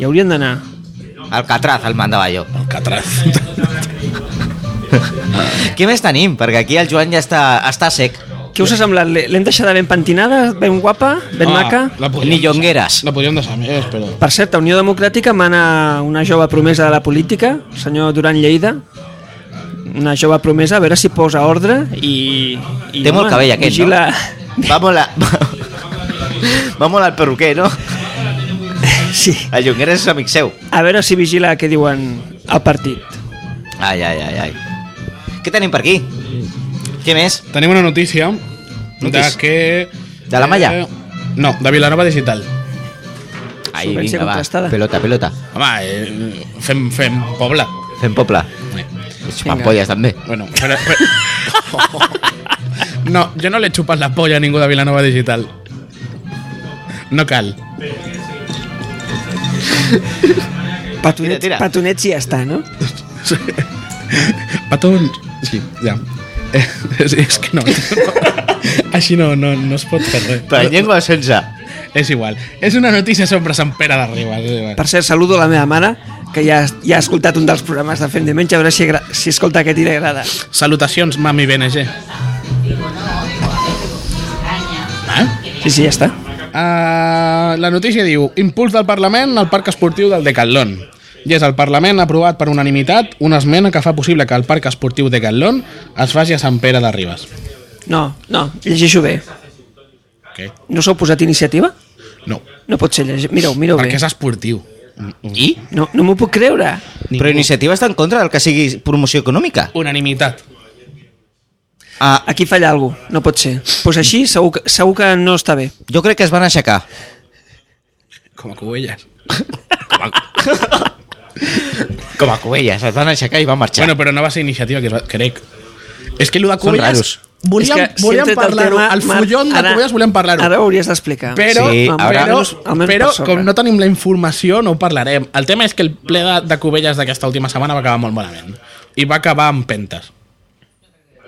Hi haurien d'anar.
Alcatraz el mandava jo.
El catraz.
Què més tenim? Perquè aquí el Joan ja està, està sec.
Què us ha semblat? L'hem deixada ben pentinada, ben guapa, ben ah. maca?
Ni llongueres.
La podríem deixar més, però...
Per cert, a Unió Democràtica mana una jove promesa de la política, el senyor Duran Lleida, una jove promesa, a veure si posa ordre i... i
Té molt cabell aquest,
vigila...
Va molt, a... va molt al perruquer, no?
[laughs] Sí.
El Llongueres és amic seu.
A veure si vigila què diuen al partit.
Ai, ai, ai, ai. Què tenim per aquí? Què més?
Tenim una notícia,
Notícia.
de que...
De la malla?
Eh, No, de Vilanova Digital.
Ai,
Solvència
vinga, va,
contrastada.
pelota, pelota.
Home, eh, fem, fem poble.
Fem poble.
Eh,
Xupant polles, també.
Bueno, però, però... [laughs] No, jo no l'he xupat la polla a ningú de Vilanova Digital. No cal.
Tira,
Petonets,
tira.
petonets i ja està, no?
Patons. Sí, ja. [laughs] Eh, és, és que no. [laughs] Així no, no, no es pot fer res.
Per llengua sense.
És igual. És una notícia sobre Sant Pere de Ribes. és igual.
Per cert, saludo la meva mare, que ja, ja ha escoltat un dels programes de Fem Diumenge, a veure si, agra- si escolta aquest i li agrada.
Salutacions, mami BNG. Eh?
Sí, sí, ja està.
Uh, la notícia diu Impuls del Parlament al Parc Esportiu del Decathlon i és el Parlament ha aprovat per unanimitat una esmena que fa possible que el Parc Esportiu Decathlon es faci a Sant Pere de Ribes
No, no, llegeixo bé.
okay.
No s'ha posat iniciativa?
no,
No pot ser, llegeix... mireu, mireu
perquè
bé.
és esportiu
I?
No, no m'ho puc creure.
Però iniciativa està en contra del que sigui promoció econòmica.
unanimitat
Ah,
Aquí falla alguna cosa, no pot ser. Doncs pues així segur que, segur que no està bé.
jo crec que es van aixecar.
com a Covelles
Com a Covelles, es van aixecar i van marxar.
bueno, però no va ser iniciativa que es va... crec és que el de
Són
Covelles
raros.
volíem,
És que si hem
volíem
tret el
parlar-ho
tema,
al
Marc,
fullón de
ara-
Covelles volíem parlar-ho
Ara ho hauries d'explicar.
Però,
Sí,
però,
ara-
però,
Almenys- almenys
però
per sobre.
com no tenim la informació, no ho parlarem. El tema és que el ple de, de Cubelles d'aquesta última setmana va acabar molt malament. I va acabar amb pentes.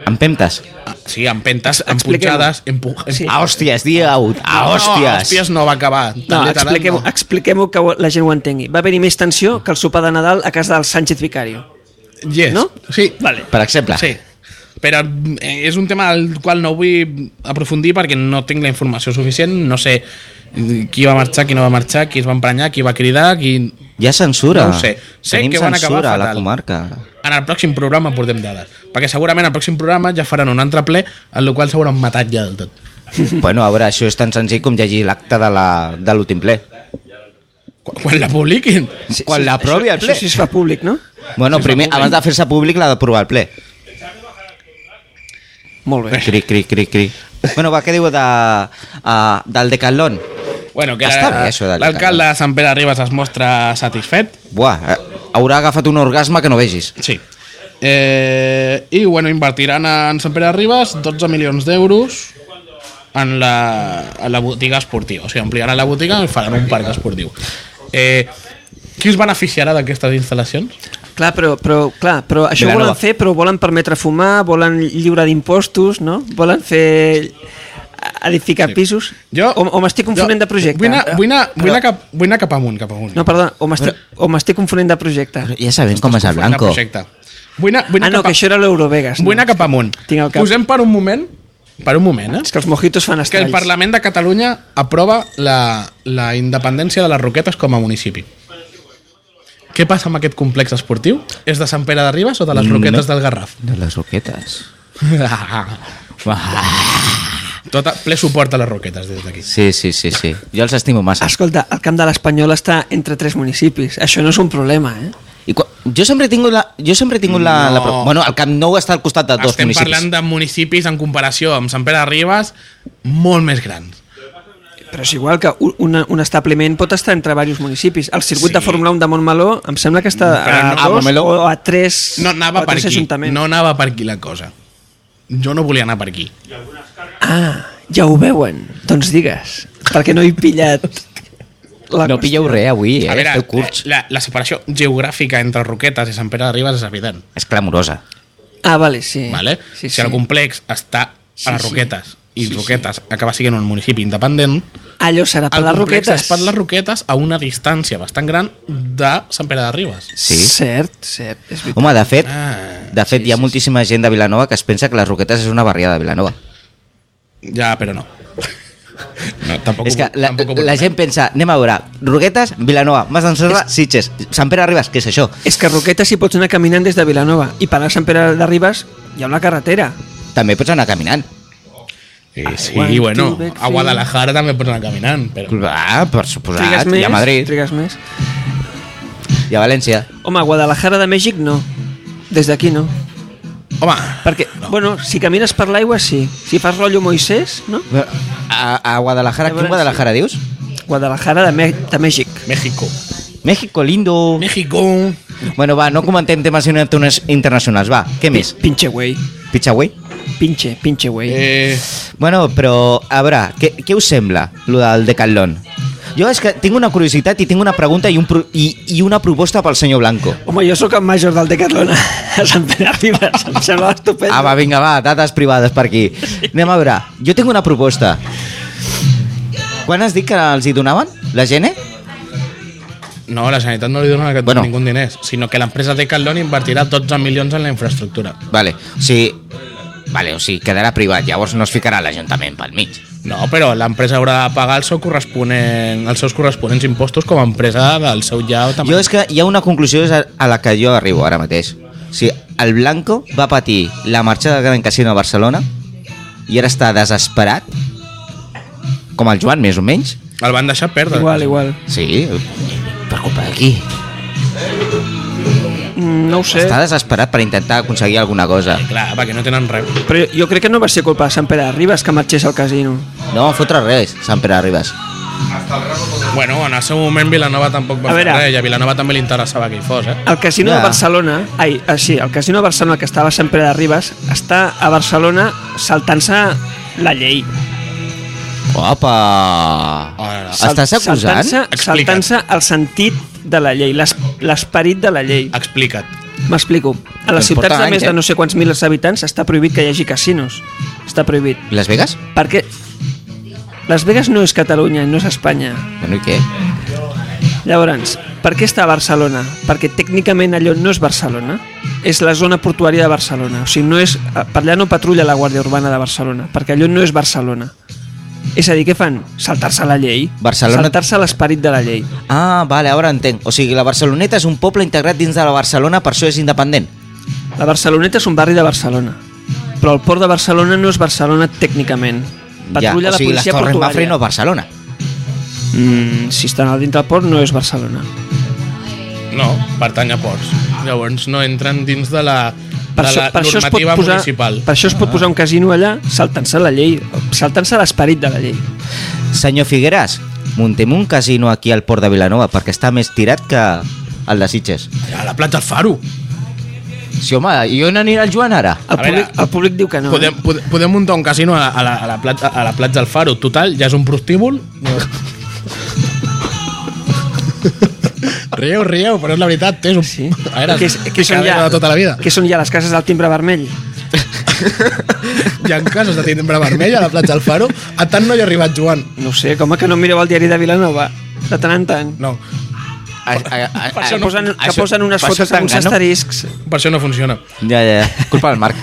Amb pemptes.
Ah, Sí, amb pentes, amb
Expliqueu.
punxades, amb pu...
Sí. Ah,
A hòsties, dia out.
No,
A
a
hòsties.
hòsties no va acabar.
No,
Tan literal,
expliquem-ho
no.
expliquem que ho- la gent ho entengui. Va haver-hi més tensió que el sopar de Nadal a casa del Sánchez Vicario.
Yes.
No?
Sí.
Vale.
Per exemple.
Sí. Però mm, és un tema al qual no vull aprofundir perquè no tinc la informació suficient, no sé mm, qui va marxar, qui no va marxar, qui es va emprenyar, qui va cridar, qui...
Hi ha censura.
No ho sé. Sé
Tenim
que van acabar
censura a la
fatal.
comarca. [laughs]
En el pròxim programa portem dades, perquè segurament el pròxim programa ja faran un altre ple en el qual s'hauran matat ja del tot.
bueno, a veure, això és tan senzill com llegir l'acte de la- de l'últim ple.
Quan, quan la publiquin.
Sí, Quan l'aprovi el ple.
Això sí es fa públic, no?
Bueno, primer, abans de fer-se públic, l'ha d'aprovar el ple.
Molt bé.
Cri, cri, cri, cri. Bueno, va, què diu de, uh, del Decathlon?
Bueno, que
Està
ara-
bé, això de l'Icaro.
l'alcalde de Sant Pere de Ribes es mostra satisfet.
Buah, eh, haurà agafat un orgasme que no vegis.
Sí. Eh, I bueno, invertiran en Sant Pere de Ribes 12 milions d'euros en la, en la botiga esportiva. O sigui, ampliaran la botiga i faran un parc esportiu. Eh, qui es beneficiarà d'aquestes instal·lacions?
Clar, però, però, clar, però això ho
Vilanova.
volen fer, però volen permetre fumar, volen lliure d'impostos, no? Volen fer eh, edificar pisos. o, o m'estic confonent de projecte.
Vull anar, vull, anar, vull,
Però-
anar cap, vull anar cap amunt, cap amunt.
No, perdona, o m'estic o m'estic confonent de projecte.
Ja sabem com és el
Vull anar
Blanco.
projecte. Vull anar, vull
Ah,
anar
no,
cap, a,
que això era l'Eurovegas. No?
vull anar cap amunt.
Tinc el cap.
Posem per un moment, per un moment, eh?
És que els mojitos fan
És que el
estralls.
Parlament de Catalunya aprova la, la independència de les Roquetes com a municipi. Què passa amb aquest complex esportiu? És de Sant Pere de Ribes o de les Roquetes del Garraf? [laughs]
De les roquetes.
Tot a- Tota, ple suport a les Roquetes des d'aquí.
Sí, sí, sí, sí. Jo els estimo massa.
Escolta, el camp de l'Espanyol està entre tres municipis. Això no és un problema, eh?
I quan, jo sempre he tingut la... Jo sempre he tingut la, la
No.
bueno, el Camp Nou està al costat de dos
Estem
municipis.
parlant de municipis en comparació amb Sant Pere de Ribes molt més grans.
Però és igual que un, una- un establiment pot estar entre diversos municipis. El circuit
Sí.
sí. de Fórmula 1 de Montmeló em sembla que està
Però
a
no- a
dos
Montmeló-
o a tres,
No anava
o a
per
tres
aquí.
ajuntaments.
No anava per aquí la cosa. Jo no volia anar per aquí.
Ah, ja ho veuen. Doncs digues, perquè no he pillat... La
No pilleu res avui, eh?
A veure,
Esteu curts.
eh, la, la separació geogràfica entre Roquetes i Sant Pere de Ribes és evident.
És clamorosa.
Ah, vale, sí.
¿vale?
Sí,
si
sí.
el complex està
Sí,
a les
sí.
Roquetes i Roquetes acaba sent un municipi independent,
Allò serà per
el complex
les roquetes.
és per les Roquetes a una distància bastant gran de Sant Pere de Ribes.
Sí.
Cert, cert. És veritat.
Home, de fet,
Ah,
de fet hi ha moltíssima gent de Vilanova que es pensa que les Roquetes és una barriada de Vilanova.
Ja, però no. [laughs] No, tampoc,
és que
ho-
la,
tampoc ho
la
volem.
gent pensa, anem a veure, Roquetes, Vilanova, Mas d'en Sorra, Sitges, Sant Pere Arribas, què és això?
És que a Roquetes hi pots anar caminant des de Vilanova i per a Sant Pere de Ribes hi ha una carretera.
També pots anar caminant.
Eh, sí,
One, two,
bueno,
back,
a Guadalajara també pots anar caminant, però...
Ah, per
Trigues
suposat,
més,
i a Madrid,
Trigues més.
i a València.
Home, a Guadalajara de Mèxic no. Des d'aquí no.
Home,
Perquè, no. bueno, si camines per l'aigua, sí. Si fas rotllo Moisés, no?
A, a Guadalajara,
A
quin
veure,
Guadalajara dius?
Guadalajara de, Mè de Mèxic.
México.
México lindo.
México.
Bueno, va, no comentem temes interna- internacionals, va, què més?
Pinche güey.
Pitxaway?
Pinche, pinche güey. Eh.
Eh,
Bueno, però, a veure, què, què us sembla, lo del Decathlon? Jo és que tinc una curiositat i tinc una pregunta i, un pro i, i una proposta pel senyor Blanco.
Home, jo sóc el major del Decathlon a [laughs] Sant Pere Ribes. Em sembla estupendo.
Ah, va, vinga, va, dates privades per aquí. Anem a veure, jo tinc una proposta. Quan has dit que els hi donaven? La gent, eh?
no, la Generalitat no li dona aquest-
Bueno.
ningún diners, sinó que l'empresa Decathlon invertirà 12 milions en la infraestructura.
Vale, o sigui... Vale, o sigui, quedarà privat, llavors no es ficarà l'Ajuntament pel mig.
No, però l'empresa haurà de pagar el seu corresponent, els seus corresponents impostos com a empresa del seu ja també.
Jo és que hi ha una conclusió és a a la que jo arribo ara mateix. O sigui, el Blanco va patir la marxa del Gran Casino a Barcelona i ara està desesperat, com el Joan, més o menys.
El van deixar perdre.
Igual, igual.
Sí, per culpa d'aquí.
Mm, No ho sé.
Està desesperat per intentar aconseguir alguna cosa.
Clar, perquè no tenen res.
Però jo crec que no va ser culpa de Sant Pere de Ribes que marxés al casino.
No van fotre res, Sant Pere Ribes.
Bueno, en el seu moment Vilanova tampoc va
A
fer
veure.
res i a Vilanova també li interessava que hi fos, eh?
El casino
Ja.
de Barcelona, ai, ah, sí, el casino de Barcelona que estava a Sant Pere de Ribes, està a Barcelona saltant-se la llei.
Opa!
Ara.
Estàs acusant?
Saltant-se
Explica't.
saltant el sentit de la llei, l'es- l'esperit de la llei.
Explica't.
M'explico. A les
Doncs porta
ciutats de
anys,
més
eh?
de no sé quants milers habitants està prohibit que hi hagi casinos. Està prohibit.
Las Vegas?
Perquè Las Vegas no és Catalunya, no és Espanya.
Bueno, i què?
Llavors, per què està a Barcelona? Perquè tècnicament allò no és Barcelona, és la zona portuària de Barcelona. O sigui, no és, per allà no patrulla la Guàrdia Urbana de Barcelona, perquè allò no és Barcelona. És a dir, què fan? Saltar-se la llei.
Barcelona-
Saltar-se l'esperit de la llei.
Ah, vale, ara entenc. O sigui, la Barceloneta és un poble integrat dins de la Barcelona, per això és independent.
La Barceloneta és un barri de Barcelona, però el port de Barcelona no és Barcelona tècnicament. Patrulla
ja, o sigui,
la policia
les Torres Mafre
portuària.
no és Barcelona.
Mm, si estan al dintre del port no és Barcelona.
No, pertany a ports. Llavors no entren dins de la,
Per
de
això,
la
per, això es pot
normativa
posar,
municipal. Ah.
per això es pot posar un casino allà saltant-se la llei, saltant-se l'esperit de la llei.
Senyor Figueras, muntem un casino aquí al Port de Vilanova perquè està més tirat que el de Sitges.
A la platja del Faro.
Sí, home, i on anirà el Joan ara?
El,
A
públic,
veure,
el públic diu que no.
Podem,
eh?
podem, podem muntar un casino a, a, la, a, la platja, a la platja del Faro. Total, ja és un prostíbul. rieu, rieu, però és la veritat, té, és un...
Sí.
A veure,
que, que, són ja,
de tota la vida.
que són ja les cases del timbre vermell.
Hi ha cases de timbre vermell a la platja del Faro. A tant no hi ha arribat, Joan.
No ho sé, com que no mireu el diari de Vilanova? De tant en tant.
No,
A, a, a,
Que posen, que posen unes
per això
fotos amb uns
t'engano?
asteriscs.
per això no funciona.
Ja, ja, ja. Culpa del Marc.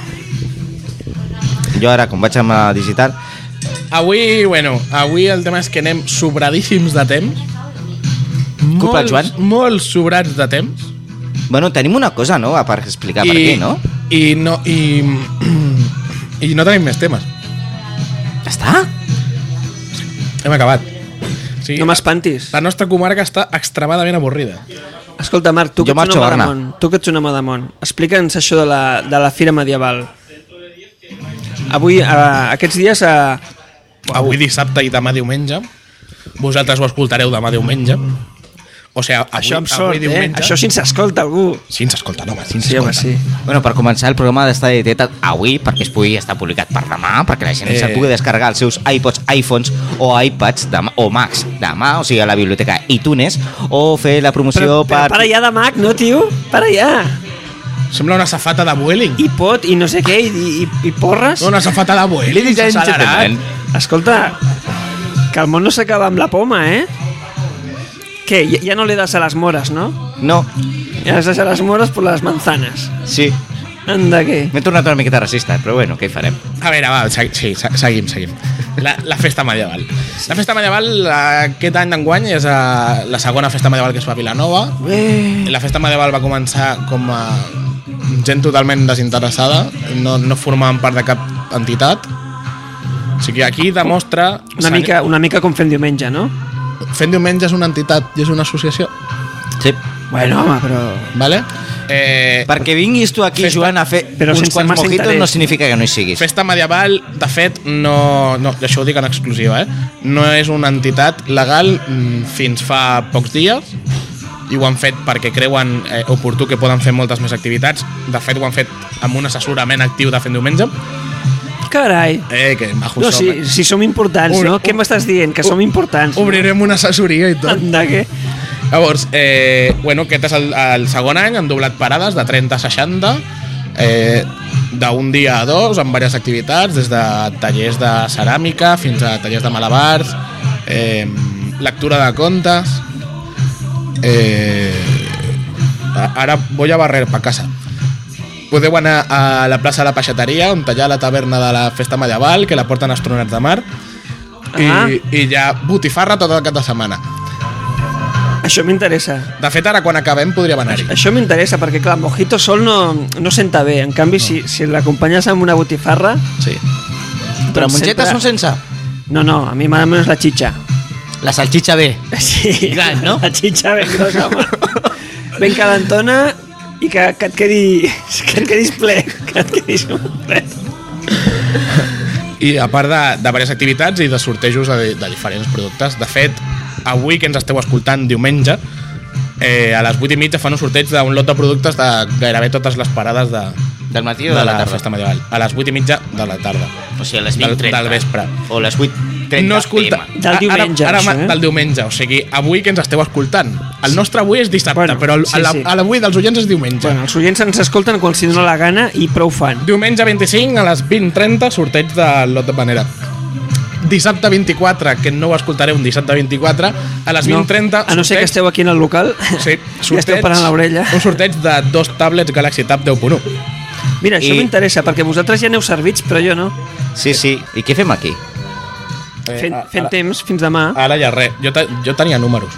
Jo ara, com vaig amb la digital...
Avui, bueno, avui el tema és que anem sobradíssims de temps.
Culpa del Joan.
Molt sobrats de temps.
Bueno, tenim una cosa nova per explicar per aquí, no?
I no, i, [clears throat] i no tenim més temes.
Ja està?
Hem acabat. Sí,
No m'espantis.
la nostra comarca està extremadament avorrida.
Escolta, Marc, tu
Jo
que, ets
marxo
un
a
home de
Barna.
món, tu que ets un home de món, explica'ns això de la, de la fira medieval. Avui, a, aquests dies, a,
Avui dissabte i demà diumenge. Vosaltres ho escoltareu demà diumenge. O sigui, avui,
això amb
avui
sort, eh?
diumenge...
Això si ens escolta algú.
Sí, ens escolta, no, home, sí, ens
Sí, home,
escolta.
sí.
Bueno, per començar el programa d'Estar de Teta avui, perquè es pugui estar publicat per demà, perquè la gent eh. se'l
Eh.
pugui descarregar els seus iPods, iPhones o iPads demà, o Macs demà, o sigui, a la biblioteca iTunes, o fer la promoció
Però, però
per...
para ja de Mac, no, tio? Para ja.
Sembla una safata de Vueling.
I pot, i no sé què, i, i, i porres.
Una safata de Vueling.
Ladies and
s'accelerat.
gentlemen.
Escolta, que el món no s'acaba amb la poma, eh? Què, ja, ja no li das a les mores, no?
No,
Ja les das a les mores per les manzanes.
sí,
Anda, què?
m'he tornat una miqueta racista, però bueno, què hi farem?
A veure, va, se- sí, se- seguim, seguim. La, la festa medieval. La festa medieval eh, aquest any d'enguany és eh, la segona festa medieval que es fa a Vilanova. La festa medieval va començar com a gent totalment desinteressada, no, no formaven part de cap entitat. O sigui, aquí demostra...
Una mica, una mica com fem diumenge, no?
Fent diumenge és una entitat i és una associació.
Sí,
Bueno, home, però...
¿vale? Eh,
Perquè vinguis tu aquí,
Festa-
Joan, a fer
Però
uns
sense
quants
massa
mojitos
interès.
no significa que no hi siguis.
Festa Medieval, de fet, no, no, això ho dic en exclusiva, eh? no és una entitat legal mm, fins fa pocs dies i ho han fet perquè creuen eh, oportú que poden fer moltes més activitats. De fet, ho han fet amb un assessorament actiu de fent diumenge.
Carai.
Eh, que majos
No,
som,
si, si som importants,
Obre-
no? Què m'estàs dient? Que som importants. no?
Obrirem una assessoria i tot.
Anda, què?
Llavors, eh, bueno, aquest és el, el segon any, han doblat parades de 30 a 60, eh, d'un dia a dos, amb diverses activitats, des de tallers de ceràmica fins a tallers de malabars, eh, lectura de contes... Eh, a- ara voy a barrer pa casa. Podeu anar a la plaça de la Peixateria, on hi ha la taverna de la Festa Medieval, que la porten astronauts de mar, i,
Ah.
i hi ha botifarra tot el cap de setmana.
Això m'interessa.
De fet, ara quan acabem podríem anar-hi.
Això m'interessa, perquè clar, mojito sol no, no senta bé. En canvi, si, si l'acompanyes amb una botifarra...
Sí.
Però
doncs
mongetes són
sempre-
sense.
No, no, a mi m'agrada menys la [laughs] xitxa.
La salxitxa bé.
Sí.
Gran, no?
La xitxa ben grossa, home. ben calentona i que, que et quedi... que et quedis ple. Que et quedis ple.
I a part de, de diverses activitats i de sortejos de, de diferents productes. De fet, avui que ens esteu escoltant diumenge, eh, a les 8 i mitja fan un sorteig d'un lot de productes de gairebé totes les parades de,
Del matí
de,
o de,
la,
la tarda?
festa medieval. A les 8 i mitja de la tarda.
O sigui, a les
Del,
20.30.
del vespre.
O a les 8.30
No escolta...
PM.
Del diumenge,
Ara, ara,
això, eh?
Del diumenge, o sigui, avui que ens esteu escoltant. El nostre avui és dissabte,
Bueno,
bueno, però el-
sí,
a la-
sí.
a l'avui dels oients és diumenge.
Bueno, els oients ens escolten quan si dona la gana i prou fan.
Diumenge 25 a les 20.30 sorteig del lot de Panera. Dissabte 24, que no ho escoltaré un dissabte 24, a les 20.30...
no, a no ser que esteu aquí en el local [laughs]
Sí,
i esteu
sorteig,
parant l'orella.
un sorteig de dos tablets Galaxy Tab 10.1.
Mira, això
I-
m'interessa, perquè vosaltres ja aneu servits, però jo no.
Sí, sí. I què fem aquí?
Fent,
ara-
fent temps, fins demà.
Ara ja res. Jo, te, jo tenia números.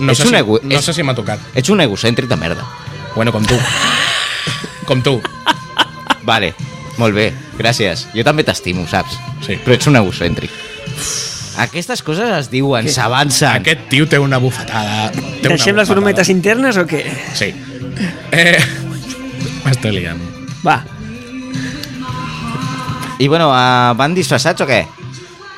No
És
sé, si,
un ego-
no
és-
sé si m'ha tocat.
Ets un egocèntric de
[laughs]
merda.
Bueno, com tu. Com tu.
Vale, molt bé, gràcies. Jo també t'estimo, saps?
Sí.
Però ets un egocèntric. Aquestes coses es diuen, s'avancen.
Aquest tio té una bufetada. Té
Deixem
una
les brometes internes o què?
Sí. Eh, [laughs] M'estic liant.
Va,
I bueno, uh, van disfressats o què?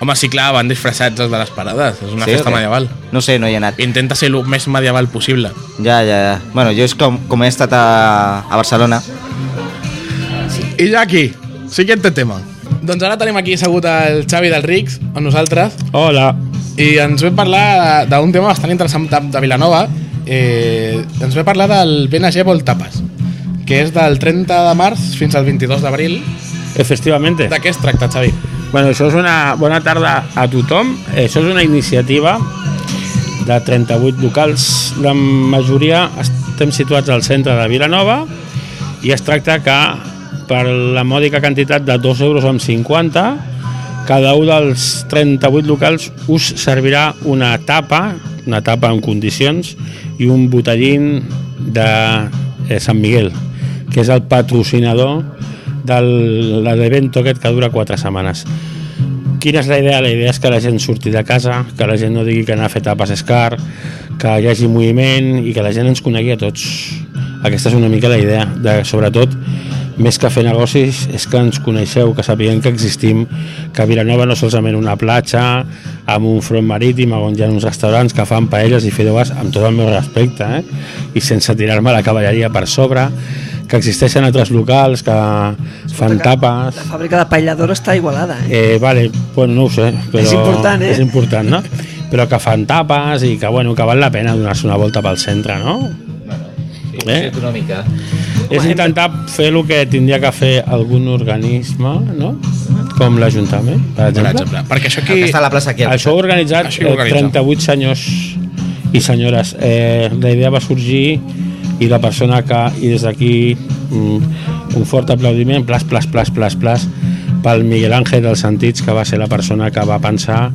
Home, sí, clar, van disfressats els de les parades. És una
sí,
sí, festa
o què?
medieval.
No sé, no hi he anat.
Intenta ser el més medieval possible.
Ja, ja, ja. Bueno, jo és com, com he estat a, a Barcelona.
I ja aquí, siguiente tema. Doncs ara tenim aquí assegut el Xavi del Rics, amb nosaltres,
Hola.
i ens ve parlar d'un tema bastant interessant de, de Vilanova. Eh, ens ve parlar del BNG Vol Tapas, que és del 30 de març fins al 22 d'abril.
Efectivamente.
De què es tracta, Xavi?
Bueno, això és una bona tarda a tothom. Això és una iniciativa de 38 locals. La majoria estem situats al centre de Vilanova i es tracta que per la mòdica quantitat de 2 euros amb 50 cada un dels 38 locals us servirà una tapa una tapa en condicions i un botellín de eh, Sant Miguel que és el patrocinador del de l'evento aquest que dura 4 setmanes Quina és la idea? La idea és que la gent surti de casa, que la gent no digui que anar a fer tapes és car, que hi hagi moviment i que la gent ens conegui a tots. Aquesta és una mica la idea, de, sobretot, més que fer negocis, és que ens coneixeu, que sapiguem que existim, que Vilanova no és solament una platja, amb un front marítim, on hi ha uns restaurants que fan paelles i fideuàs, amb tot el meu respecte, eh? i sense tirar-me la cavalleria per sobre, que existeixen altres locals que fan tapes...
la fàbrica de paelladora està igualada, eh?
Eh, vale, bueno, no ho sé, però...
És important, eh?
És important, no? Però que fan tapes i que, bueno, que val la pena donar-se una volta pel centre, no? Eh?
econòmica.
És intentar fer el que tindria que fer algun organisme, no? Com l'Ajuntament,
Per
per exemple.
exemple, perquè això
Que
aquí...
està a la plaça aquí.
Això ho ha organitzat
Això ho
eh,
organitza.
38 senyors i senyores. Eh, la idea va sorgir i la persona que, i des d'aquí mm, un fort aplaudiment, plas, plas, plas, plas, plas, pel Miguel Ángel dels Sentits, que va ser la persona que va pensar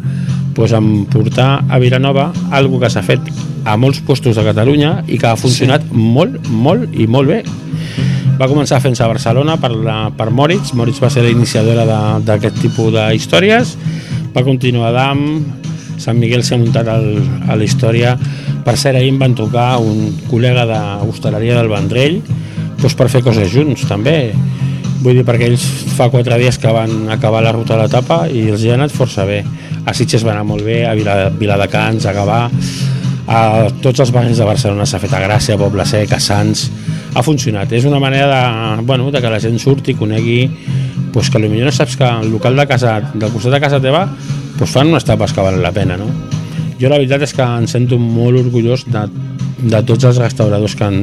pues, en portar a Vilanova algo que s'ha fet a molts postos de Catalunya i que ha funcionat sí. molt, molt i molt bé va començar fent-se a Barcelona per, la, per Moritz. Moritz va ser la iniciadora de- d'aquest tipus d'històries. Va continuar a Dam, Sant Miguel s'ha muntat al, a la història. Per cert, ahir em van tocar un col·lega d'hostaleria del Vendrell doncs per fer coses junts, també. Vull dir, perquè ells fa quatre dies que van acabar la ruta de l'etapa i els hi ha anat força bé. A Sitges va anar molt bé, a Vila, Viladecans, a Gavà, a tots els barris de Barcelona s'ha fet a Gràcia, a Poble Sec, a Sants... Ha funcionat. És una manera de, bueno, de que la gent surti, conegui... Pues que potser no saps que al local de casa, del costat de casa teva pues fan unes tapes que valen la pena, no? Jo la veritat és que em sento molt orgullós de, de tots els restauradors que, han,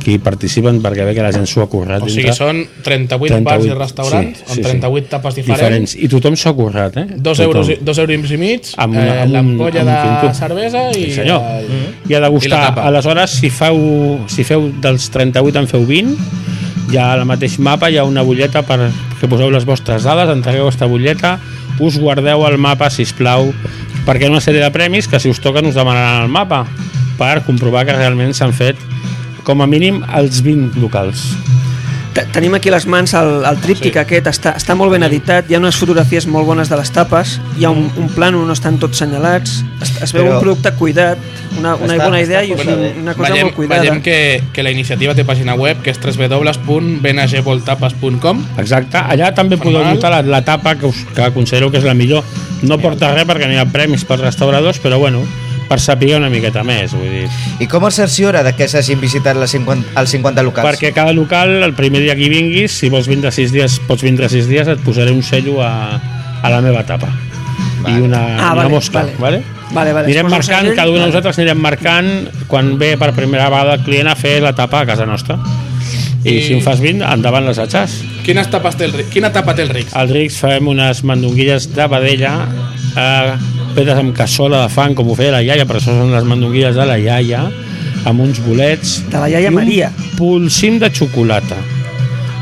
que hi participen perquè ve que la gent s'ho ha currat.
O sigui,
dintre.
són 38, bars i restaurants, amb 38 tapes diferents,
diferents. I tothom s'ha currat, eh?
Dos,
Tothom.
euros, i- dos euros i mig, amb
Amb una-
eh,
amb un-
l'ampolla
amb un
de
quinto.
cervesa i...
Sí, senyor. Mm.
el-
I ha de
I la
gustar.
tapa.
Aleshores, si feu, si feu dels 38 en feu 20, ja al mateix mapa hi ha una butlleta per que poseu les vostres dades, entregueu aquesta butlleta, us guardeu el mapa, si plau, perquè hi ha una sèrie de premis que si us toquen us demanaran el mapa per comprovar que realment s'han fet com a mínim els 20 locals.
Te- Tenim aquí a les mans el, el tríptic sí. aquest, està, està molt ben editat, hi ha unes fotografies molt bones de les tapes, hi ha un, un plan on no estan tots senyalats, es, es veu
Però-
un producte cuidat, una, una
Està-
bona idea
està
i
força bé.
un- una cosa
tota Veiem,
molt cuidada.
veiem que, que la iniciativa té pàgina web, que és www.benagvoltapes.com
Exacte, allà també podeu
Fenomenal.
notar la- l'etapa que, us, que considero que és la millor. No porta res perquè no hi ha premis pels restauradors, però bueno, per saber una miqueta més, vull dir.
I com es cerciora de que s'hagin visitat les 50, els 50 locals?
Perquè cada local, el primer dia que hi vinguis, si vols vindre 6 dies, pots vindre 6 dies, et posaré un cello a, a la meva etapa. Vale. I una,
Ah,
Mm, una
vale,
mosca,
vale.
vale? vale?
Vale, vale,
Anirem
es posa un
marcant,
segell,
cada un de
vale.
nosaltres anirem marcant quan ve per primera vegada el client a fer l'etapa a casa nostra. I, I
I-
si en fas 20, endavant les atxes.
Quina etapa té el, Ri- quina etapa té el Rix?
Al Rix fem unes mandonguilles de vedella eh, fetes amb cassola de fang, com ho feia la iaia, però això són les mandonguilles de la iaia, amb uns bolets...
De la iaia
i un
Maria.
pulsim de xocolata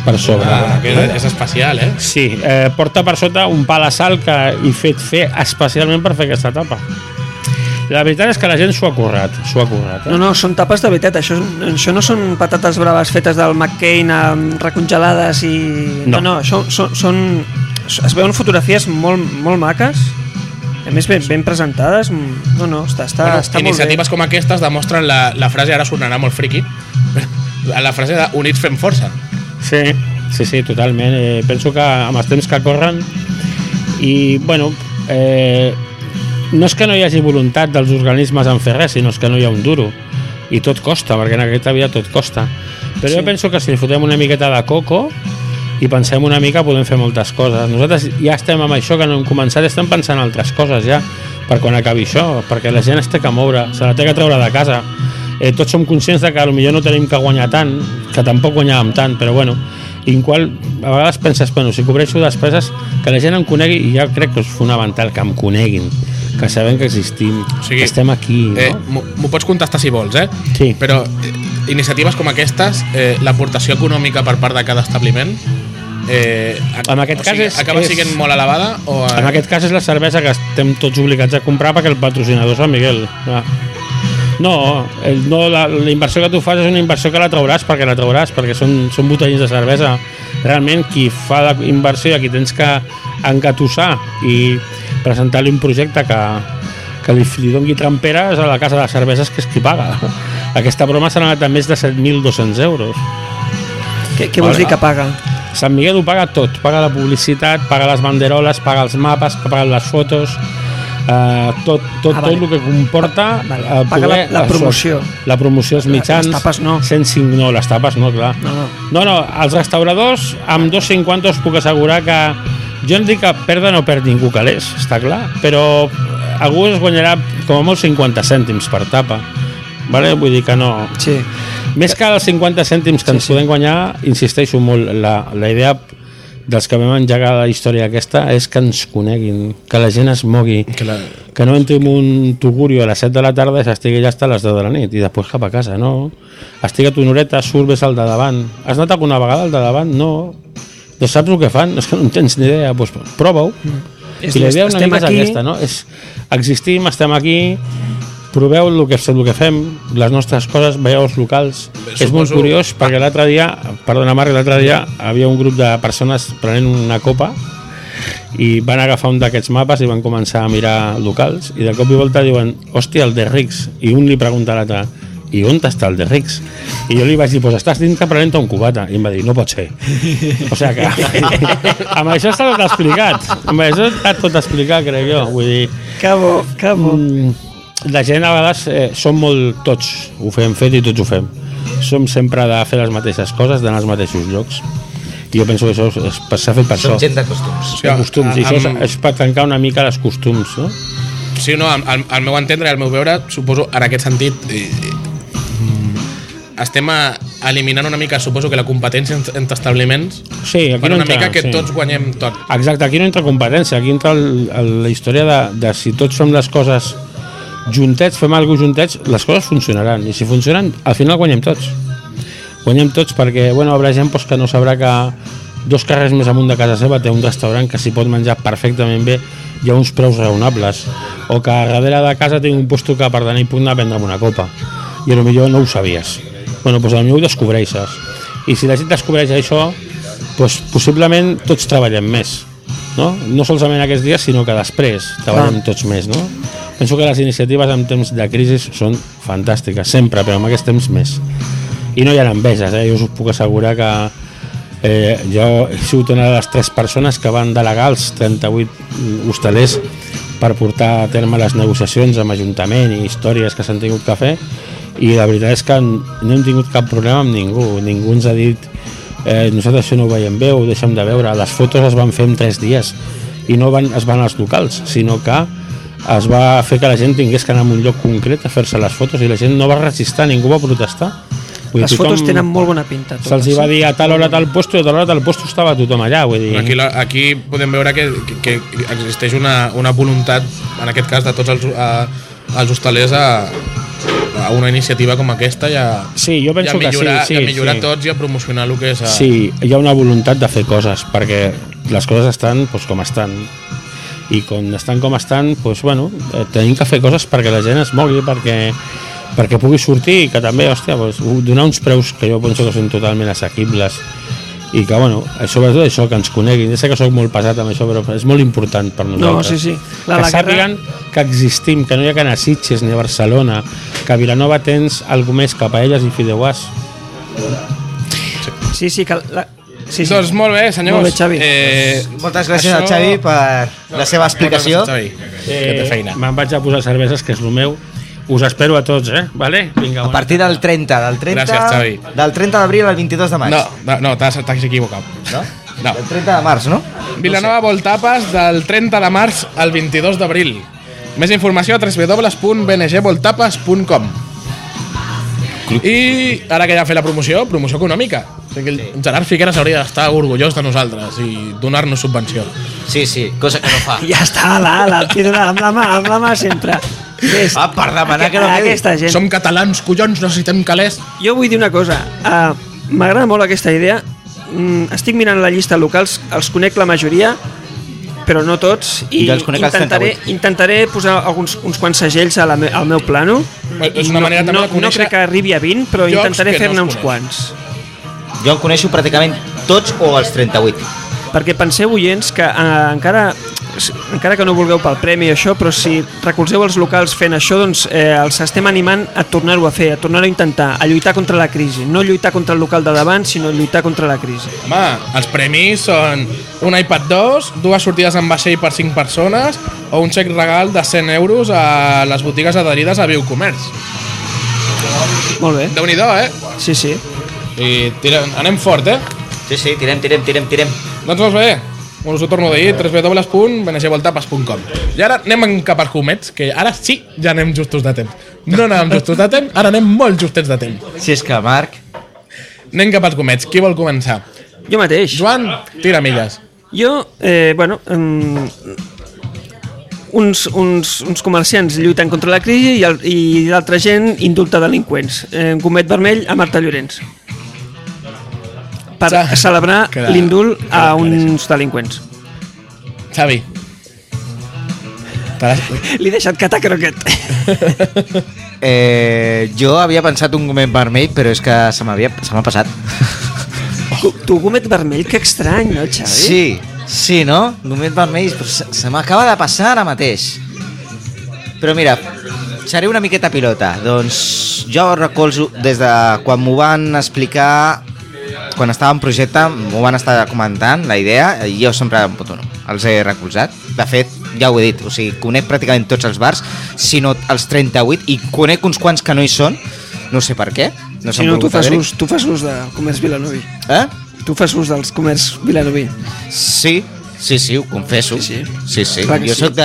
per sobre.
Ah, que és especial, eh?
Sí, eh, porta per sota un pal de sal que he fet fer especialment per fer aquesta tapa. La veritat és que la gent s'ho ha currat, s'ho ha currat. Eh?
No, no, són tapes de veritat, això, això no són patates braves fetes del McCain amb recongelades i...
No.
no, no això, són, són, es veuen fotografies molt, molt maques, a més ben, ben presentades, no, no, està, està,
Bueno,
està molt bé.
iniciatives com aquestes demostren la, la frase, ara sonarà molt friqui, [laughs] la frase de units fem força.
Sí, sí, sí, totalment. Eh, penso que amb els temps que corren i, bueno, eh, no és que no hi hagi voluntat dels organismes en fer res, sinó és que no hi ha un duro. I tot costa, perquè en aquesta vida tot costa. Però sí. jo penso que si li fotem una miqueta de coco i pensem una mica podem fer moltes coses. Nosaltres ja estem amb això que no hem començat, estem pensant altres coses ja per quan acabi això, perquè la gent es té que moure, se la té que treure de casa. Eh, tots som conscients de que potser no tenim que guanyar tant, que tampoc guanyàvem tant, però bueno, i en qual a vegades penses, bueno, si cobreixo despeses, que la gent em conegui, i ja crec que és fonamental que em coneguin, que sabem que existim, o
sigui,
sigui, que estem aquí, no?
Eh, M'ho m'ho pots contestar si vols, eh?
Sí.
Però eh, iniciatives com aquestes, eh, l'aportació econòmica per part de cada establiment, eh, ac-
En aquest
o sigui,
cas és-
acaba
és-
sent molt elevada o... eh,
En aquest cas és la cervesa que estem tots obligats a comprar perquè el patrocinador és Sant Miguel. Ah. No, el, no la, la inversió que tu fas és una inversió que la trauràs perquè la trauràs, perquè són, són botellins de cervesa. Realment, qui fa la inversió i a qui tens que encatussar i presentar-li un projecte que, que li, li doni tramperes a la casa de les cerveses que és qui paga. [laughs] Aquesta broma s'ha anat a més de 7.200 euros.
Què, què vols
Vale.
dir que paga?
Sant Miguel ho paga tot, paga la publicitat, paga les banderoles, paga els mapes, paga les fotos, eh, tot, tot,
Ah,
ah,
vale. Ah,
vale. tot el que comporta eh,
Vale. Paga la- la promoció.
La promoció als mitjans.
les tapes no.
105, no, les tapes no, clar.
No, no.
No, no, els restauradors amb 2,50 us puc assegurar que jo no dic que perda no perd ningú calés, està clar, però algú es guanyarà com a molt 50 cèntims per tapa. Vale? Vull dir que no...
Sí.
Més que els 50 cèntims que ens podem guanyar, insisteixo molt, la, la idea dels que vam engegar la història aquesta és que ens coneguin, que la gent es mogui, que, la... que no entri en un tugurio a les 7 de la tarda i s'estigui allà hasta les 10 de la nit i després cap a casa, no. Estiga tu noreta, surt, ves al de davant. Has anat alguna vegada al de davant? No. No saps el que fan? És que no en tens ni idea. Doncs prova-ho.
És
I la
dir,
idea una
Mm. estem
mica és
aquí.
aquesta, no? És, existim, estem aquí, proveu el que, el que fem, les nostres coses, veieu els locals. Suposo... És molt curiós perquè l'altre dia, perdona Marc, l'altre dia havia un grup de persones prenent una copa i van agafar un d'aquests mapes i van començar a mirar locals i de cop i volta diuen, hòstia, el de Rics i un li pregunta a l'altre i on està el de Rics? I jo li vaig dir, pues estàs dintre prenent un cubata. I em va dir, no pot ser. O sigui que [laughs] amb això està tot explicat. Amb això està tot explicat, crec jo. Vull dir,
Cabo, cabo.
Mm, la gent a vegades eh, som molt tots, ho fem fet i tots ho fem som sempre de fer les mateixes coses d'anar als mateixos llocs i jo penso que això és- és- s'ha fet per
Som
això
gent de costums.
de costums, i això és,
Amb-
és per tancar una mica les costums no?
Sí, no, al, al, al meu entendre i al meu veure, suposo, en aquest sentit, i, i, mm, estem a, eliminant una mica, suposo, que la competència entre, entre establiments
sí, aquí
per
no
una
entra,
mica que
sí.
tots guanyem tot.
Exacte, aquí no entra competència, aquí entra el, el, la història de, de si tots fem les coses juntets, fem alguna cosa juntets, les coses funcionaran, i si funcionen, al final guanyem tots. Guanyem tots perquè, bueno, haurà gent doncs, que no sabrà que dos carrers més amunt de casa seva té un restaurant que s'hi pot menjar perfectament bé i a uns preus raonables, o que a darrere de casa tinc un puesto que per d'anar i puc anar a prendre'm una copa, i a lo millor no ho sabies. Bueno, doncs potser ho descobreixes. I si la gent descobreix això, doncs possiblement tots treballem més no? no solament aquests dies sinó que després treballem
Clar.
tots més no? penso que les iniciatives en temps de crisi són fantàstiques, sempre però en aquests temps més i no hi ha enveges, eh? jo us puc assegurar que eh, jo he sigut una de les tres persones que van delegar els 38 hostalers per portar a terme les negociacions amb Ajuntament i històries que s'han tingut que fer i la veritat és que no hem tingut cap problema amb ningú, ningú ens ha dit eh, nosaltres això no ho veiem bé, ho deixem de veure les fotos es van fer en 3 dies i no van, es van als locals, sinó que es va fer que la gent tingués que anar a un lloc concret a fer-se les fotos i la gent no va resistir, ningú va protestar Vull dir,
Les
tothom-
fotos tenen molt bona pinta. totes.
Se'ls hi va dir a tal hora tal puesto i a tal hora tal puesto estava tothom allà, vull dir...
Però Aquí, la- aquí podem veure que, que, que existeix una, una voluntat, en aquest cas, de tots els, eh, els hostalers a, a una iniciativa com aquesta i a,
Sí, jo
i a
penso que sí,
millorar,
sí,
i a millorar
sí.
tots i a promocionar el que és... A,
Sí, hi ha una voluntat de fer coses, perquè les coses estan doncs, com estan. I quan estan com estan, doncs, bueno, eh, tenim que fer coses perquè la gent es mogui, perquè, perquè pugui sortir i que també, hòstia, doncs, u- donar uns preus que jo penso que són totalment assequibles i que, bueno, eh, sobretot això, que ens coneguin. Ja sé que sóc molt pesat amb això, però és molt important per
No,
nosaltres.
sí, sí.
La, que sàpiguen que existim, que no hi ha que anar a Sitges ni a Barcelona, que a Vilanova tens alguna més que paelles i fideuàs.
Sí, sí, que la... Sí, sí.
Doncs molt bé, senyors.
Molt bé, Xavi.
Eh,
Doncs Moltes gràcies
això-
a Xavi per Eh, la seva explicació.
Moltes gràcies, Xavi, que té feina.
Eh, Me'n vaig a posar cerveses, que és el meu. Us espero a tots, eh? Vale? Vinga,
A
bona
partir del 30, del 30,
Gràcies, Xavi.
del 30 d'abril al 22 de maig.
No, no, no t'has t'has equivocat.
No?
No.
Del 30 de març, no?
Vilanova vol tapes del 30 de març al 22 d'abril. Més informació a www.bngvoltapes.com I ara que ja ha fet la promoció, promoció econòmica. O sigui que el Gerard Figueres hauria d'estar orgullós de nosaltres i donar-nos subvenció.
Sí, sí, cosa que no [laughs] fa.
Ja està, ala, ala, tira amb la mà, amb la mà sempre. Ves.
Va, Ah, per demanar que no quedi.
Aquesta gent.
Som catalans, collons, necessitem calés.
Jo vull dir una cosa. Uh, M'agrada molt aquesta idea. Mm, estic mirant la llista de locals, els conec la majoria, però no tots, i
Jo els conec els
intentaré,
38.
intentaré posar alguns, uns quants segells a la me, al meu plano.
És una manera
no,
també
no,
de conèixer...
No crec que arribi a 20, però
llocs
intentaré
que no
fer-ne
es
uns
coneix.
quants.
Jo en coneixo pràcticament tots o els 38.
Perquè penseu, oients, que eh, encara encara que no vulgueu pel premi i això, però si recolzeu els locals fent això, doncs eh, els estem animant a tornar-ho a fer, a tornar-ho a intentar, a lluitar contra la crisi. No lluitar contra el local de davant, sinó lluitar contra la crisi.
Home, els premis són un iPad 2, dues sortides en vaixell per 5 persones o un xec regal de 100 euros a les botigues adherides a Biocomerç.
Molt bé.
déu nhi eh?
Sí, sí.
I tirem, anem fort, eh?
Sí, sí, tirem, tirem, tirem, tirem.
Doncs molt bé. Us ho torno a dir, www.benegevoltapes.com I ara anem cap als comets, que ara sí ja anem justos de temps. No anàvem justos de temps, ara anem molt justets de temps.
Si és que, Marc...
Anem cap als comets, qui vol començar?
Jo mateix.
Joan, tira milles.
Jo, eh, bueno, um, uns, uns, uns comerciants lluiten contra la crisi i, el- i l'altra gent indulta delinqüents. Eh, Gomet vermell a Marta Llorenç. Per
Sa-
celebrar
Queda-
l'indult a
queda
uns delinqüents.
Xavi. T'has-
Li he deixat catar croquet.
Eh, jo havia pensat un gomet vermell, però és que se m'havia- se m'ha passat.
Tu, Gomet vermell, que estrany, no, Xavi?
Sí, Sí, no? Només vermells, però se, se m'acaba de passar ara mateix. Però mira, seré una miqueta pilota. Doncs jo recolzo des de quan m'ho van explicar, quan estava en projecte, m'ho van estar comentant, la idea, i jo sempre em puto, no, els he recolzat. De fet, ja ho he dit, o sigui, conec pràcticament tots els bars, si no els 38, i conec uns quants que no hi són, no sé per què. No
si
s'han
no, tu
volgut
fas,
adherir.
ús, tu fas ús de comerç vilanovi.
Eh?
Tu fas ús dels comerç vilanovi.
Sí, sí, sí, ho confesso.
Sí,
sí. sí, sí.
Clar que
Jo
sí.
sóc de,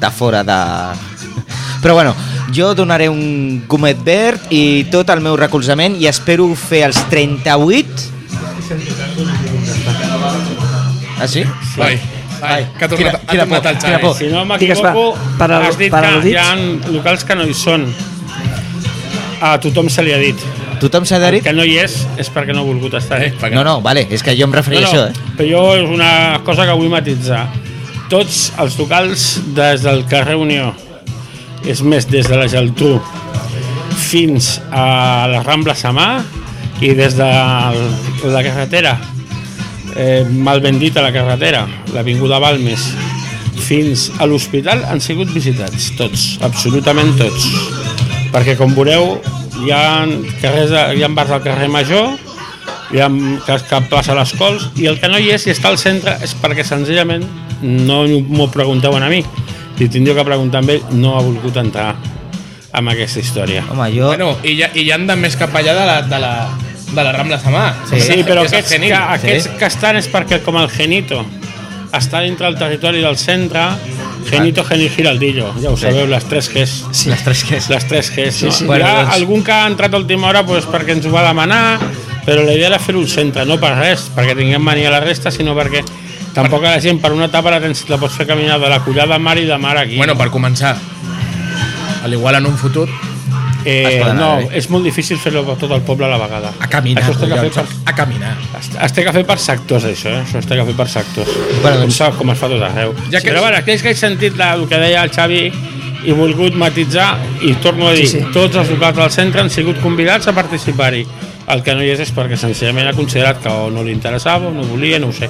de fora de... [laughs] Però bueno, jo donaré un gomet verd i tot el meu recolzament i espero fer els 38... Ah, sí?
Ai, ai, que ha tornat,
Quina-
ha
quina
tornat el
por, quina
Xavi.
por.
Si no
Digues, va,
m'equivoco,
per al-
has dit
per al
que
dit.
hi ha locals que no hi són. A tothom se li ha dit.
Tothom s'ha
El
adherit?
que no hi és és perquè no ha volgut estar.
Eh, perquè-
No, no, vale, és que jo em referia
No,
no,
no,
a això, eh?
però jo és una cosa que vull matitzar. Tots els locals des del carrer Unió, és més, des de la Geltrú fins a la Rambla Samà i des de la carretera, eh, malbendita la carretera, l'Avinguda Balmes, fins a l'hospital han sigut visitats, tots, absolutament tots. Perquè, com veureu, hi ha, carrers, de- hi ha bars al carrer Major, hi ha que, que plaça les cols i el que no hi és i està al centre és perquè senzillament no m'ho preguntaven a mi i tindria que preguntar a ell no ha volgut entrar amb aquesta història
Home, jo...
Bueno, i ja, i ja andant més cap allà de la, de la, de la Rambla Samà.
sí, sí però
és el
aquests,
Genil.
que, aquests que estan és perquè com el Genito està dintre del territori del centre Genito, Genil, Giraldillo ja ho sabeu, les tres que és
sí. Les tres que és.
les tres que és, no?
sí.
Hi ha
Bueno, doncs-
algun que ha entrat a última hora doncs, perquè ens ho va demanar, però la idea era fer-ho al centre, no per res, perquè tinguem mania a la resta, sinó perquè tampoc a la gent per una etapa la, tens, la pots fer caminar de la collada a mar i de mar aquí.
Bueno, per començar, a l'igual en un futur,
es
eh,
poden
no,
anar bé.
és molt difícil fer-ho per tot el poble a la vegada.
a caminar,
Això es té que fer
collons, eh.
per,
a caminar.
es, es té que fer per sectors, això, eh? Això es té que fer per sectors.
Bueno,
Bueno,
doncs-
doncs... Com, com es fa tot arreu.
Ja
Ja
que-
que... Però bueno, aquells que he sentit la, el que deia el Xavi i volgut matitzar, i torno a dir, sí,
sí.
sí. tots els locals del centre han sigut convidats a participar-hi. El que no hi és és perquè senzillament ha considerat que o no li interessava, o no volia, no ho sé.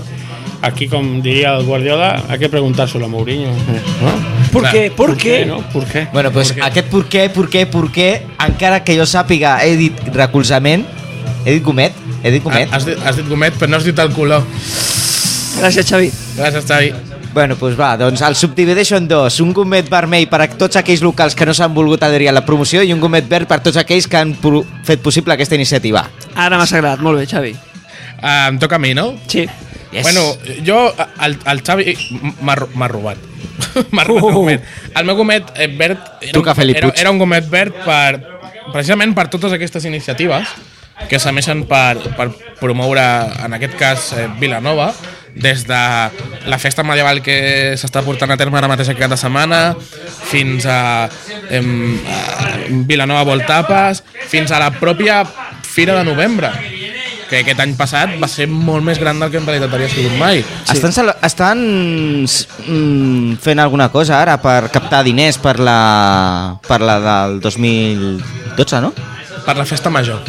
Aquí, com diria el Guardiola, hay que preguntar-se-lo a Mourinho. No?
¿Por
Clar,
qué? ¿Por
Què?
qué?
No? Per què?
Bueno, doncs
Por
pues
què?
aquest per què, per què, per què, encara que jo sàpiga, he dit recolzament, he dit gomet, he dit gomet.
Has dit, has dit gomet, però no has dit el color.
Gràcies, Xavi.
Gràcies, Xavi.
Bueno, doncs va, doncs el subdivideixo en dos. Un gomet vermell per a tots aquells locals que no s'han volgut adherir a la promoció i un gomet verd per a tots aquells que han pro- fet possible aquesta iniciativa.
Ara m'has agradat, molt bé, Xavi.
Ah, em toca a mi, no?
Sí.
Yes.
Bueno, jo, el, el Xavi m'ha ro- m'ha robat. [laughs]
Uh.
m'ha robat un gomet. El meu gomet eh, verd era,
Truca a Felip
era,
Puig.
era un gomet verd per, precisament per totes aquestes iniciatives que s'emeixen per, per promoure, en aquest cas, eh, Vilanova, des de la festa medieval que s'està portant a terme ara mateix aquest cap de setmana, fins a, em, a Vilanova Voltapes, fins a la pròpia Fira de Novembre, que aquest any passat va ser molt més gran del que en realitat havia sigut mai.
Sí. Estan, sal- estan mm, fent alguna cosa ara per captar diners per la, per la del 2012, no?
Per la festa major.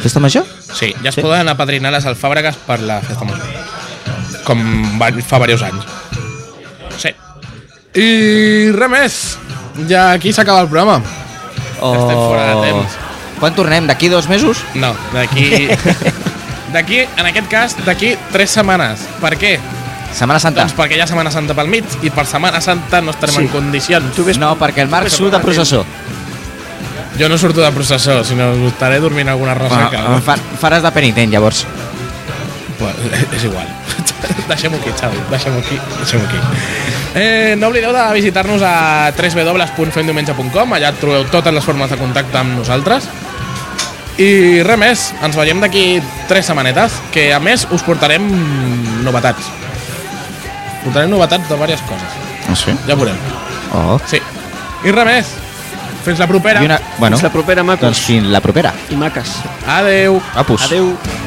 Festa Major?
Sí, ja es sí. poden apadrinar les alfàbregues per la festa major. Com va, fa diversos anys. Sí. I res més. Ja aquí s'acaba el programa.
O...
Estem fora de temps.
Quan tornem? D'aquí dos mesos?
No, [laughs] d'aquí... d'aquí, en aquest cas, d'aquí tres setmanes. Per què?
Setmana Santa.
Doncs perquè hi ha Setmana Santa pel mig i per Setmana Santa no estarem sí. en condicions.
Tu no, perquè el Marc surt de processó.
Jo no surto de processó, sinó estaré dormint alguna
Bueno,
ressaca.
em Ah, fa- faràs de penitent, llavors.
Bueno, [laughs] és igual. deixem-ho aquí, Xavi. Deixem-ho aquí. Deixem aquí. Eh, no oblideu de visitar-nos a www.femdiumenge.com Allà trobeu totes les formes de contacte amb nosaltres. I res més, ens veiem d'aquí tres setmanetes, que a més us portarem novetats. Portarem novetats de diverses coses.
Ah, sí?
Ja ho veurem.
Oh.
Sí. I res més. Fins la propera.
I una... Bueno,
Fins la propera, macos
doncs fins la propera.
i maques.
Adeu.
Apus.
Adeu.